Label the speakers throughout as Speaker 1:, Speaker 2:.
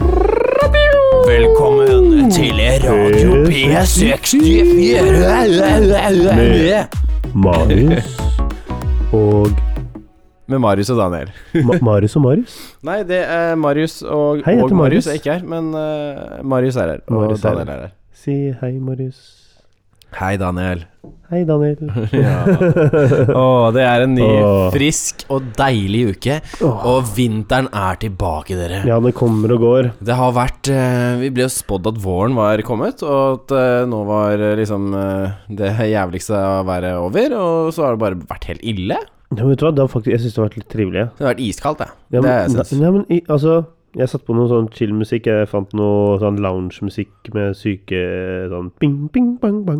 Speaker 1: Mm.
Speaker 2: Velkommen til Radio P64
Speaker 1: Med- Marius og
Speaker 2: Med Marius og Daniel
Speaker 1: Ma Marius og Marius.
Speaker 2: Nei, det er Marius og,
Speaker 1: Hei,
Speaker 2: og
Speaker 1: jeg heter Marius.
Speaker 2: Marius er ikke her Men eh, Marius er her Og
Speaker 1: Marius er
Speaker 2: Daniel er her
Speaker 1: Si hei, Marius.
Speaker 2: Hei Daniel
Speaker 1: Hei, Daniel.
Speaker 2: Åh, det er en ny
Speaker 1: Åh.
Speaker 2: frisk og deilig uke Og vinteren er tilbake dere
Speaker 1: Ja, det kommer og går.
Speaker 2: Det har vært eh, Vi ble jo spådd at våren var kommet, og at eh, nå var eh, liksom eh, det jævligste av været over. Og så har det bare vært helt ille.
Speaker 1: Ja, vet du hva? Det har faktisk, jeg syns det har vært litt trivelig. jeg.
Speaker 2: Det har vært iskaldt, jeg.
Speaker 1: Ja,
Speaker 2: det
Speaker 1: men,
Speaker 2: har jeg syns.
Speaker 1: ne- nei, men i, altså Jeg satte på noe sånn chill-musikk. Jeg fant noe sånn lounge-musikk med syke sånn ping, ping, bang, bang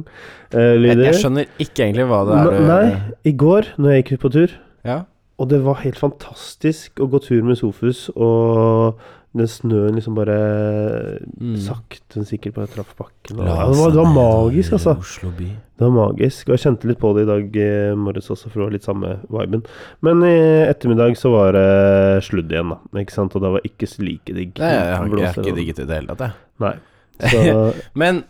Speaker 1: eh,
Speaker 2: Jeg,
Speaker 1: lyder.
Speaker 2: jeg skjønner ikke egentlig hva det er
Speaker 1: Ne-
Speaker 2: du
Speaker 1: Nei, i går, når jeg gikk ut på tur
Speaker 2: Ja.
Speaker 1: Og det var helt fantastisk å gå tur med Sofus, og den snøen liksom bare
Speaker 2: Mm.
Speaker 1: sakte, men sikkert bare traff bakken. Og, ja, det, var, det var magisk, altså.
Speaker 2: Oslo by.
Speaker 1: Det var magisk. Og jeg kjente litt på det i dag eh, morges også, for det var litt samme viben. Men i ettermiddag så var det sludd igjen, da. Ikke sant? Og det var ikke like digg.
Speaker 2: Nei, jeg har ikke, jeg har
Speaker 1: Blåser
Speaker 2: ikke
Speaker 1: og-
Speaker 2: digget det i det hele tatt, jeg.
Speaker 1: Nei. Så
Speaker 2: Men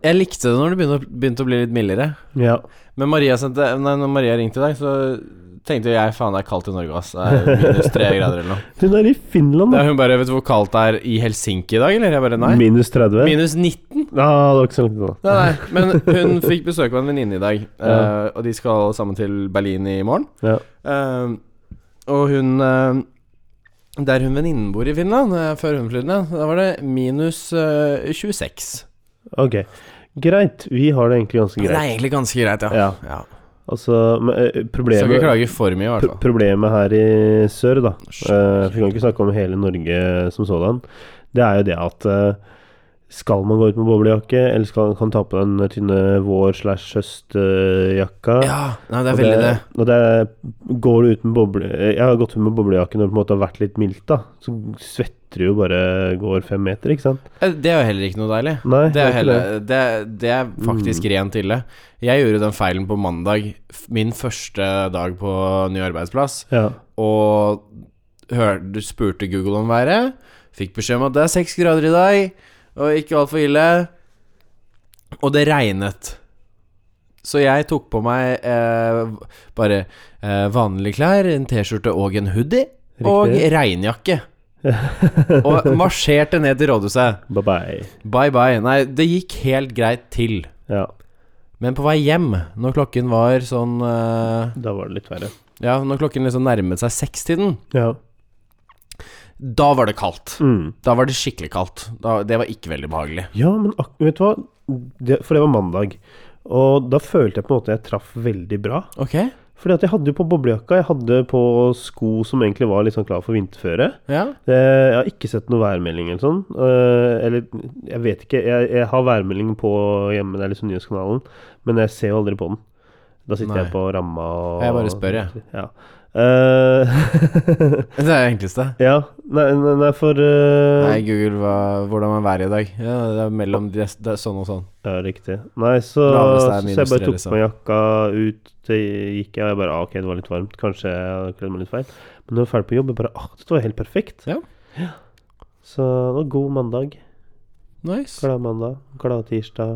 Speaker 2: jeg likte det når det begynte, begynte å bli litt mildere.
Speaker 1: ja.
Speaker 2: Men Maria sendte, nei, når Maria ringte i dag, så tenkte jeg faen, det er kaldt i Norge, ass. Det er minus tre grader eller noe.
Speaker 1: Hun er i Finland,
Speaker 2: Ja,
Speaker 1: da.
Speaker 2: hun bare 'Vet du hvor kaldt det er i Helsinki i dag?' Eller jeg bare 'Nei'.
Speaker 1: Minus 30.
Speaker 2: Minus 19?
Speaker 1: ah, det var ikke så langt unna.
Speaker 2: Nei, nei. Men hun fikk besøk av en venninne i dag, eh,
Speaker 1: Ja.
Speaker 2: og de skal sammen til Berlin i morgen.
Speaker 1: Ja.
Speaker 2: Eh, og hun eh, Der hun venninnen bor i Finland, eh, før hun flyttet ned, da var det minus eh, 26.
Speaker 1: Ok. Greit. Vi har det egentlig ganske
Speaker 2: Det er
Speaker 1: greit.
Speaker 2: egentlig ganske greit, ja.
Speaker 1: Ja.
Speaker 2: ja.
Speaker 1: Altså, men, eh,
Speaker 2: Skal ikke
Speaker 1: problemet
Speaker 2: klage for mye, i hvert
Speaker 1: Pro-
Speaker 2: fall.
Speaker 1: Problemet her i sør, da eh,
Speaker 2: Skjønner.
Speaker 1: Vi kan ikke snakke om hele Norge som sådan. Det er jo det at eh, skal man gå ut med boblejakke, eller skal kan man ta på eh, den tynne vår-slash-høst-jakka
Speaker 2: Ja, nei, det er veldig det.
Speaker 1: Når det er- går du ut med boble eh, Jeg har gått ut med boblejakke når det på en måte har vært litt mildt, da. Så svetter du jo bare går fem meter, ikke sant?
Speaker 2: Eh, Det er jo heller ikke noe deilig.
Speaker 1: Nei,
Speaker 2: Det er,
Speaker 1: ikke
Speaker 2: hele, det, det er faktisk rent ille. Jeg gjorde den feilen på mandag, f- min første dag på ny arbeidsplass,
Speaker 1: Ja.
Speaker 2: og hør, du spurte Google om været. Fikk beskjed om at det er seks grader i dag, og ikke altfor ille. Og det regnet. Så jeg tok på meg eh, bare eh, vanlige klær, en T-skjorte og en hoodie, og
Speaker 1: Riktig.
Speaker 2: regnjakke. og marsjerte ned til rådhuset.
Speaker 1: Bye bye.
Speaker 2: Bye bye. Nei, det gikk helt greit til.
Speaker 1: Ja,
Speaker 2: Men på vei hjem, når klokken var sånn eh,
Speaker 1: da var det litt verre.
Speaker 2: Ja, når klokken liksom nærmet seg sekstiden,
Speaker 1: Ja.
Speaker 2: da var det kaldt.
Speaker 1: Mm.
Speaker 2: Da var det skikkelig kaldt. Da, det var ikke veldig behagelig.
Speaker 1: Ja, men ak vet du hva? Det, for det var mandag. Og da følte jeg på en måte jeg traff veldig bra.
Speaker 2: Ok?
Speaker 1: Fordi at jeg hadde jo på boblejakka, jeg hadde på sko som egentlig var litt sånn klar for vinterføre.
Speaker 2: Ja.
Speaker 1: Det, jeg har ikke sett noe værmelding eller sånn. Eh, eller jeg vet ikke. Jeg, jeg har værmelding på hjemme, det er liksom nyhetskanalen, men jeg ser jo aldri på den. Da sitter
Speaker 2: Nei.
Speaker 1: jeg på ramma og
Speaker 2: Jeg bare spør, jeg.
Speaker 1: Ja. Eh,
Speaker 2: Det er det enkleste.
Speaker 1: ja. Nei, nei, nei for eh,
Speaker 2: Nei, Google, hva, hvordan er været i dag? Ja, det er mellom det, det er sånn og sånn.
Speaker 1: Ja, riktig. Nei, så,
Speaker 2: Laveste er
Speaker 1: så
Speaker 2: minus
Speaker 1: jeg bare
Speaker 2: tre,
Speaker 1: tok på
Speaker 2: liksom.
Speaker 1: meg jakka ut, det gikk jeg, og jeg bare ah, Ok, det var litt varmt, kanskje jeg hadde kledd meg litt feil. Men når jeg var ferdig på jobb, jeg bare ah, dette var helt perfekt.
Speaker 2: Ja.
Speaker 1: Så det var god mandag.
Speaker 2: Nice.
Speaker 1: Glad mandag. Glad tirsdag.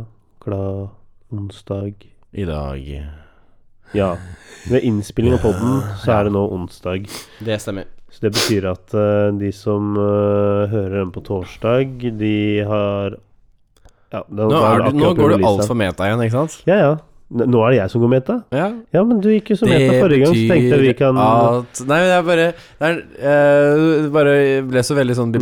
Speaker 1: Glad onsdag.
Speaker 2: I dag
Speaker 1: Ja. Ved innspilling av poden så er det nå onsdag.
Speaker 2: Det stemmer.
Speaker 1: Så det betyr at eh, de som eh, hører den på torsdag, de har Ja, det-
Speaker 2: Nå,
Speaker 1: da er
Speaker 2: er
Speaker 1: det
Speaker 2: du, nå
Speaker 1: akkurat
Speaker 2: går du
Speaker 1: releaset.
Speaker 2: altfor meta igjen, ikke sant?
Speaker 1: Ja, ja. N- Nå er det jeg som går meta.
Speaker 2: Ja.
Speaker 1: Ja, men du gikk jo som meta forrige gang, så tenkte jeg vi kan
Speaker 2: at Nei, men jeg bare det er, eh, Bare ble så veldig sånn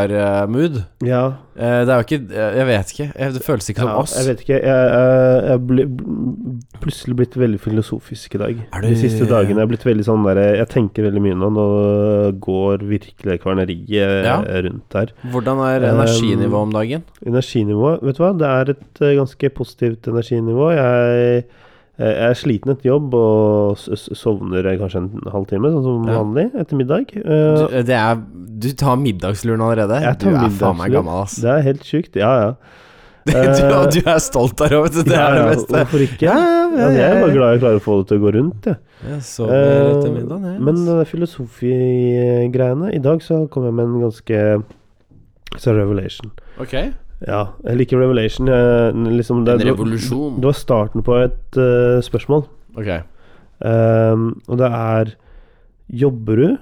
Speaker 2: bibliotekar-mood.
Speaker 1: Ja,
Speaker 2: det er jo ikke eh, Jeg vet ikke. Jeg, det føles ikke som
Speaker 1: ja
Speaker 2: oss.
Speaker 1: jeg vet ikke. Jeg, jeg, jeg ble bl- plutselig blitt veldig filosofisk i dag.
Speaker 2: Er du-
Speaker 1: De siste dagene. Jeg er blitt veldig sånn der Jeg tenker veldig mye nå. Nå går virkelig kvarneriet
Speaker 2: Ja.
Speaker 1: rundt her.
Speaker 2: Hvordan er
Speaker 1: Ehm,
Speaker 2: energinivået om dagen?
Speaker 1: Energinivået, vet du hva? Det er et eh, ganske positivt energinivå. Jeg, jeg er sliten etter jobb og s- s- sovner eh, kanskje en halvtime, sånn som
Speaker 2: Ja.
Speaker 1: vanlig, etter middag.
Speaker 2: Du,
Speaker 1: Eh,
Speaker 2: det er, du tar middagsluren allerede?
Speaker 1: Jeg
Speaker 2: du
Speaker 1: tar
Speaker 2: er faen meg
Speaker 1: middagslur.
Speaker 2: gammel, ass.
Speaker 1: Det er helt sjukt. Ja, ja. Eh,
Speaker 2: du, og du er stolt der òg, vet du. Det
Speaker 1: Ja,
Speaker 2: er det
Speaker 1: ja,
Speaker 2: beste.
Speaker 1: Hvorfor ikke?
Speaker 2: Ja, ja, ja,
Speaker 1: Altså, jeg er
Speaker 2: ja,
Speaker 1: bare
Speaker 2: ja.
Speaker 1: glad jeg klarer å få det til å gå rundt. Jeg.
Speaker 2: Jeg sover etter
Speaker 1: Eh,
Speaker 2: middagen, jeg.
Speaker 1: men eh, filosofigreiene I dag så kom jeg med en ganske Så er det Revelation.
Speaker 2: Ok.
Speaker 1: Ja, jeg liker Revelation. Jeg, liksom, det,
Speaker 2: En
Speaker 1: det-
Speaker 2: revolusjon.
Speaker 1: Det var starten på et eh, spørsmål.
Speaker 2: Ok.
Speaker 1: Ehm, og det er Jobber du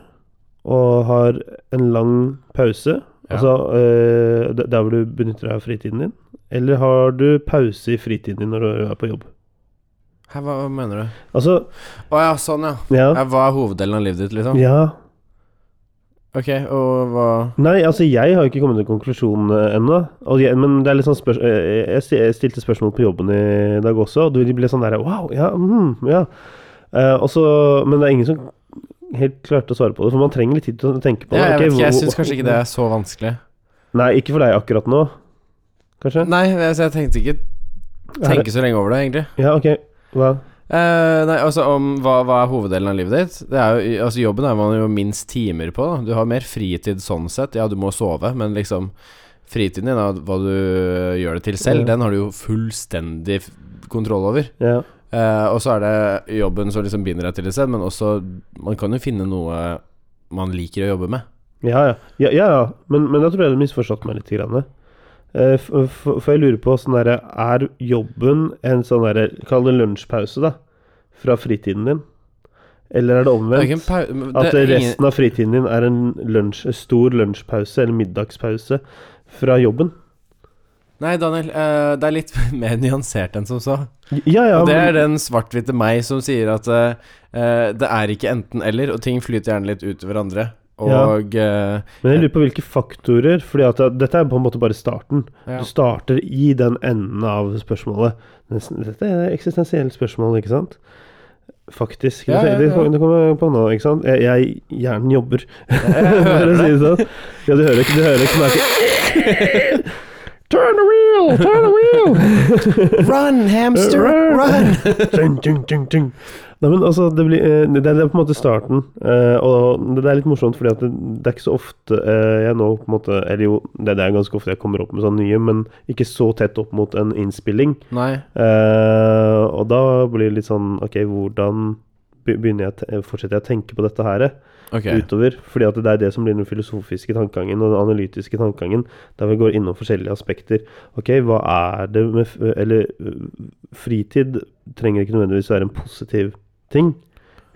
Speaker 1: og har en lang pause,
Speaker 2: Ja.
Speaker 1: altså eh, d- der hvor du benytter deg av fritiden din, eller har du pause i fritiden din når du er på jobb?
Speaker 2: Hæ, hva, hva mener du?
Speaker 1: Altså,
Speaker 2: Å ja, sånn, ja.
Speaker 1: ja.
Speaker 2: Ja, Hva er hoveddelen av livet ditt, liksom?
Speaker 1: ja.
Speaker 2: Ok, og hva
Speaker 1: Nei, altså jeg har jo ikke kommet til konklusjonen eh, ennå. Og jeg, men det er litt sånn spørs eh, jeg, sti- jeg stilte spørsmål på jobben i dag også, og de ble sånn der Wow, ja, mm, ja. Eh, og så- men det er ingen som helt klarte å svare på det, for man trenger litt tid til å tenke på det.
Speaker 2: ja, Jeg
Speaker 1: Ok,
Speaker 2: vet ikke, jeg
Speaker 1: hvor-
Speaker 2: syns kanskje ikke det er så vanskelig.
Speaker 1: Nei, ikke for deg akkurat nå, kanskje?
Speaker 2: Nei, jeg, så jeg tenkte ikke
Speaker 1: Er
Speaker 2: tenke så lenge over det, egentlig.
Speaker 1: det- Ja, ok. Hva?
Speaker 2: Eh, nei, altså om hva, hva er hoveddelen av livet ditt? Det er jo, altså Jobben er man jo minst timer på. Da. Du har mer fritid sånn sett. Ja, du må sove, men liksom fritiden din, da, hva du eh, gjør det til selv,
Speaker 1: Ja.
Speaker 2: den har du jo fullstendig f- kontroll over.
Speaker 1: Ja.
Speaker 2: Eh, og så er det jobben som liksom binder deg til et sted, men også Man kan jo finne noe man liker å jobbe med.
Speaker 1: Ja, ja. ja, ja, ja. Men, men da tror jeg du misforstått meg litt. Grann. Eh, f- f- For jeg lurer på sånn derre Er jobben en sånn derre Kall det lunsjpause, da. Fra fritiden din? Eller er
Speaker 2: Det
Speaker 1: det
Speaker 2: er ikke
Speaker 1: omvendt?
Speaker 2: en pau- men
Speaker 1: At
Speaker 2: det er ingen-
Speaker 1: resten av fritiden din er en lunsj, stor lunsjpause eller middagspause fra jobben?
Speaker 2: Nei, Daniel, eh, det er litt mer nyansert enn som så.
Speaker 1: Ja, ja.
Speaker 2: og det
Speaker 1: men-
Speaker 2: er den svart-hvite meg som sier at eh, eh, det er ikke enten-eller, og ting flyter gjerne litt ut i hverandre. Og eh,
Speaker 1: Men jeg lurer på hvilke faktorer, fordi at dette er på en måte bare starten.
Speaker 2: Ja.
Speaker 1: Du starter i den enden av spørsmålet. Nesten- Dette er et eksistensielt spørsmål, ikke sant? Faktisk.
Speaker 2: Ja, ja,
Speaker 1: Det,
Speaker 2: ja.
Speaker 1: det kommer jeg på nå, ikke sant? Jeg, jeg hjernen jobber, for å
Speaker 2: hører
Speaker 1: si det sånn. Ja, du hører ikke, du hører ikke knaken. Turn the wheel, turn the wheel!
Speaker 2: Run, hamster,
Speaker 1: Run!
Speaker 2: run!
Speaker 1: Tjung, tjung, tjung, tjung. Nei, men altså, det, blir, eh, det, det er på en måte starten, eh, og det er litt morsomt, fordi at det, det er ikke så ofte eh, jeg nå på en måte Eller jo, det, det er ganske ofte jeg kommer opp med sånn nye, men ikke så tett opp mot en innspilling.
Speaker 2: Nei.
Speaker 1: Eh, og da blir det litt sånn Ok, hvordan be- begynner jeg, å te- fortsetter jeg å tenke på dette her? eh,
Speaker 2: Ok.
Speaker 1: utover. Fordi at det er det som blir den filosofiske tankegangen og den analytiske tankegangen, der vi går innom forskjellige aspekter. Ok, hva er det med f- Eller øh, fritid trenger ikke nødvendigvis være en positiv ting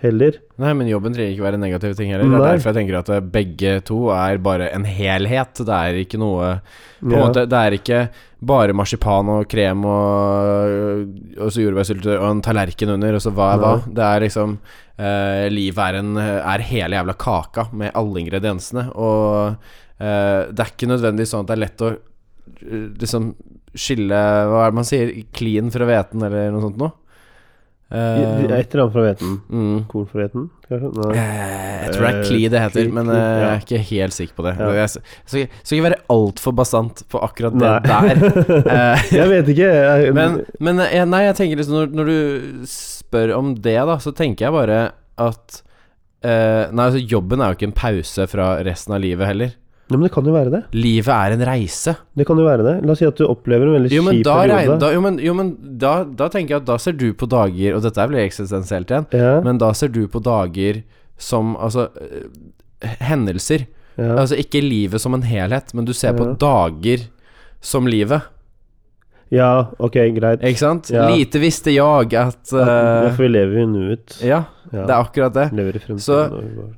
Speaker 1: heller.
Speaker 2: Nei, men jobben trenger ikke være negative ting heller. Det
Speaker 1: Nei.
Speaker 2: er derfor jeg tenker at eh, begge to er bare en helhet. Det er ikke noe På en
Speaker 1: Ja.
Speaker 2: måte, det er ikke bare marsipan og krem og, og så jordbærsyltetøy og en tallerken under, og så hva er hva. Det er liksom eh, Livet er, en, er hele jævla kaka med alle ingrediensene, og eh, det er ikke nødvendigvis sånn at det er lett å eh, liksom skille Hva er det man sier? Klin fra hveten, eller noe sånt noe?
Speaker 1: I-
Speaker 2: Eh,
Speaker 1: i- Et eller annet fra hveten.
Speaker 2: mm.
Speaker 1: Korn fra hveten, kanskje?
Speaker 2: Eh,
Speaker 1: Nei.
Speaker 2: Jeg tror det er Kli det heter,
Speaker 1: Kli,
Speaker 2: men
Speaker 1: Kli,
Speaker 2: eh, jeg
Speaker 1: ja.
Speaker 2: er ikke helt sikker på det.
Speaker 1: Ja.
Speaker 2: Jeg skal, skal ikke- skal ikke være altfor bastant på akkurat det
Speaker 1: Nei.
Speaker 2: der. Eh,
Speaker 1: Jeg vet ikke. Jeg,
Speaker 2: men, men eh, nei, jeg tenker liksom når, når du spør om det, da, så tenker jeg bare at eh, Nei, altså, jobben er jo ikke en pause fra resten av livet heller.
Speaker 1: Nei, men det kan jo være det.
Speaker 2: Livet er en reise.
Speaker 1: Det kan jo være det. La oss si at du opplever en veldig
Speaker 2: Jo, men,
Speaker 1: kjip
Speaker 2: da, regn-
Speaker 1: periode.
Speaker 2: da, jo, men, jo, men da, da tenker jeg at da ser du på dager Og dette blir eksistensielt igjen,
Speaker 1: Ja,
Speaker 2: men da ser du på dager som altså eh, hendelser.
Speaker 1: ja.
Speaker 2: Altså ikke livet som en helhet, men du ser på
Speaker 1: Ja.
Speaker 2: dager som livet.
Speaker 1: ja, ok, greit.
Speaker 2: Ikke sant?
Speaker 1: Ja.
Speaker 2: Lite visste jeg at
Speaker 1: Ja,
Speaker 2: eh,
Speaker 1: for vi lever jo i nuet.
Speaker 2: Ja, det er akkurat det.
Speaker 1: Lever i fremtiden.
Speaker 2: Så-
Speaker 1: og går.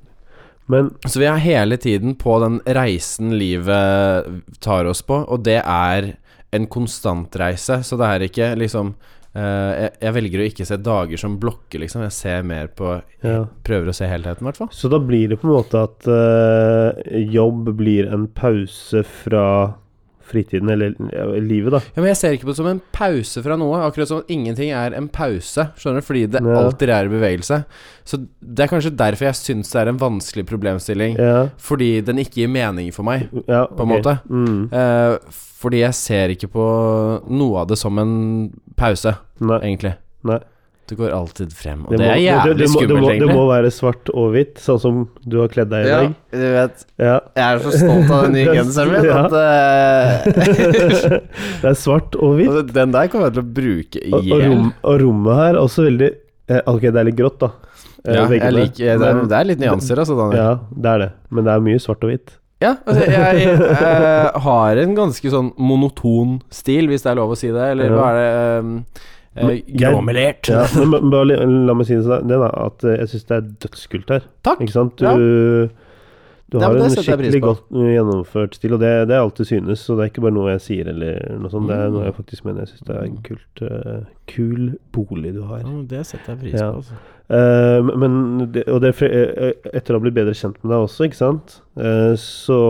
Speaker 1: Men
Speaker 2: Så vi er hele tiden på den reisen livet tar oss på, og det er en konstant reise, så det er ikke liksom eh, jeg, jeg velger å ikke se dager som blokker, liksom. Jeg ser mer på
Speaker 1: ja.
Speaker 2: Prøver å se helheten, i hvert fall.
Speaker 1: Så da blir det på en måte at eh, jobb blir en pause fra fritiden, eller ja, livet, da.
Speaker 2: Ja, men jeg ser ikke på det som en pause fra noe, akkurat som at ingenting er en pause, skjønner du, fordi det
Speaker 1: Ja.
Speaker 2: alltid er i bevegelse. Så det er kanskje derfor jeg syns det er en vanskelig problemstilling,
Speaker 1: Ja.
Speaker 2: fordi den ikke gir mening for meg,
Speaker 1: ja
Speaker 2: på en måte.
Speaker 1: Mm.
Speaker 2: Eh, fordi jeg ser ikke på noe av det som en pause,
Speaker 1: Nei.
Speaker 2: egentlig.
Speaker 1: Nei.
Speaker 2: Det går alltid frem, og
Speaker 1: Det
Speaker 2: det,
Speaker 1: må-
Speaker 2: er
Speaker 1: det- det
Speaker 2: jævlig
Speaker 1: må- det
Speaker 2: skummelt,
Speaker 1: må- Det
Speaker 2: egentlig.
Speaker 1: må være svart og hvitt, sånn som du har kledd deg i dag.
Speaker 2: du vet,
Speaker 1: Ja.
Speaker 2: jeg er så stolt av den nye genseren min
Speaker 1: Ja.
Speaker 2: at eh,
Speaker 1: det er svart og hvitt.
Speaker 2: altså, Den der kommer jeg til å bruke
Speaker 1: Og, og,
Speaker 2: igjen.
Speaker 1: rom, og rommet her er også veldig eh, Ok, det er litt grått, da. Eh,
Speaker 2: Ja, jeg
Speaker 1: veggene.
Speaker 2: liker, det, er,
Speaker 1: Men-
Speaker 2: det er litt nyanser, altså, Daniel.
Speaker 1: Ja, det er det. Men det er mye svart og hvitt.
Speaker 2: Ja, altså, jeg, jeg, eh, har en ganske sånn monoton stil, hvis det er lov å si det. Eller
Speaker 1: Ja.
Speaker 2: hva er det um, Gråmelert.
Speaker 1: Ja, men ba- bare li- la meg si det sånn, det da, at eh, jeg syns det er dødskult her.
Speaker 2: Takk!
Speaker 1: Ikke sant? Du,
Speaker 2: Ja.
Speaker 1: du
Speaker 2: Ja,
Speaker 1: har
Speaker 2: men det
Speaker 1: en
Speaker 2: setter jeg pris
Speaker 1: skikkelig
Speaker 2: på.
Speaker 1: godt eh, gjennomført stil, og det, det er alltid synes. Så det er ikke bare noe jeg sier eller noe sånt. Det er
Speaker 2: Mm.
Speaker 1: noe jeg faktisk mener. Jeg syns det er en kult, eh, kul bolig du har.
Speaker 2: det setter jeg pris
Speaker 1: Ja.
Speaker 2: på. Altså.
Speaker 1: Eh, men det, og det, er fre- eh, etter å ha blitt bedre kjent med deg også, ikke sant, Eh, så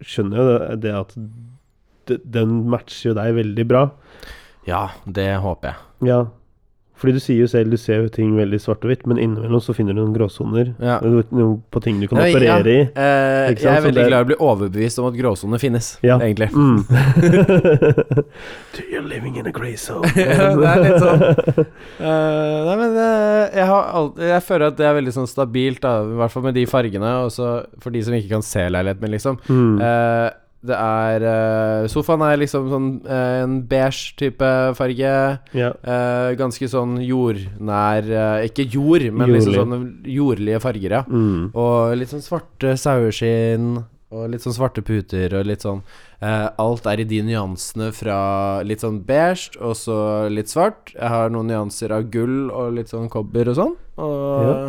Speaker 1: skjønner jeg jo det, det at d- den matcher jo deg veldig bra.
Speaker 2: Ja, det håper jeg.
Speaker 1: Ja. Fordi du sier jo selv, du ser jo ting veldig svart og hvitt, men innimellom så finner du noen gråsoner.
Speaker 2: Ja.
Speaker 1: Noe- noe På ting du kan
Speaker 2: Ja, ja.
Speaker 1: operere i.
Speaker 2: Eh,
Speaker 1: Ikke sant,
Speaker 2: jeg er
Speaker 1: så
Speaker 2: veldig
Speaker 1: det-
Speaker 2: glad i å bli overbevist om at gråsoner finnes,
Speaker 1: Ja.
Speaker 2: egentlig.
Speaker 1: Mm. You're living in a grey zone.
Speaker 2: Ja, det er litt sånn. Eh, nei, men eh, jeg, har alt- jeg føler at det er veldig sånn stabilt, da, i hvert fall med de fargene. Og så for de som ikke kan se leiligheten min, liksom.
Speaker 1: Mm.
Speaker 2: Eh, det er eh, Sofaen er liksom sånn eh, en beige type farge.
Speaker 1: Ja.
Speaker 2: eh, ganske sånn jordnær eh, Ikke jord, men liksom
Speaker 1: Jordlig.
Speaker 2: sånn jordlige farger, ja.
Speaker 1: Mm.
Speaker 2: Og litt sånn svarte saueskinn. Og litt sånn svarte puter og litt sånn eh, Alt er i de nyansene fra litt sånn beige og så litt svart. Jeg har noen nyanser av gull og litt sånn kobber og sånn. Og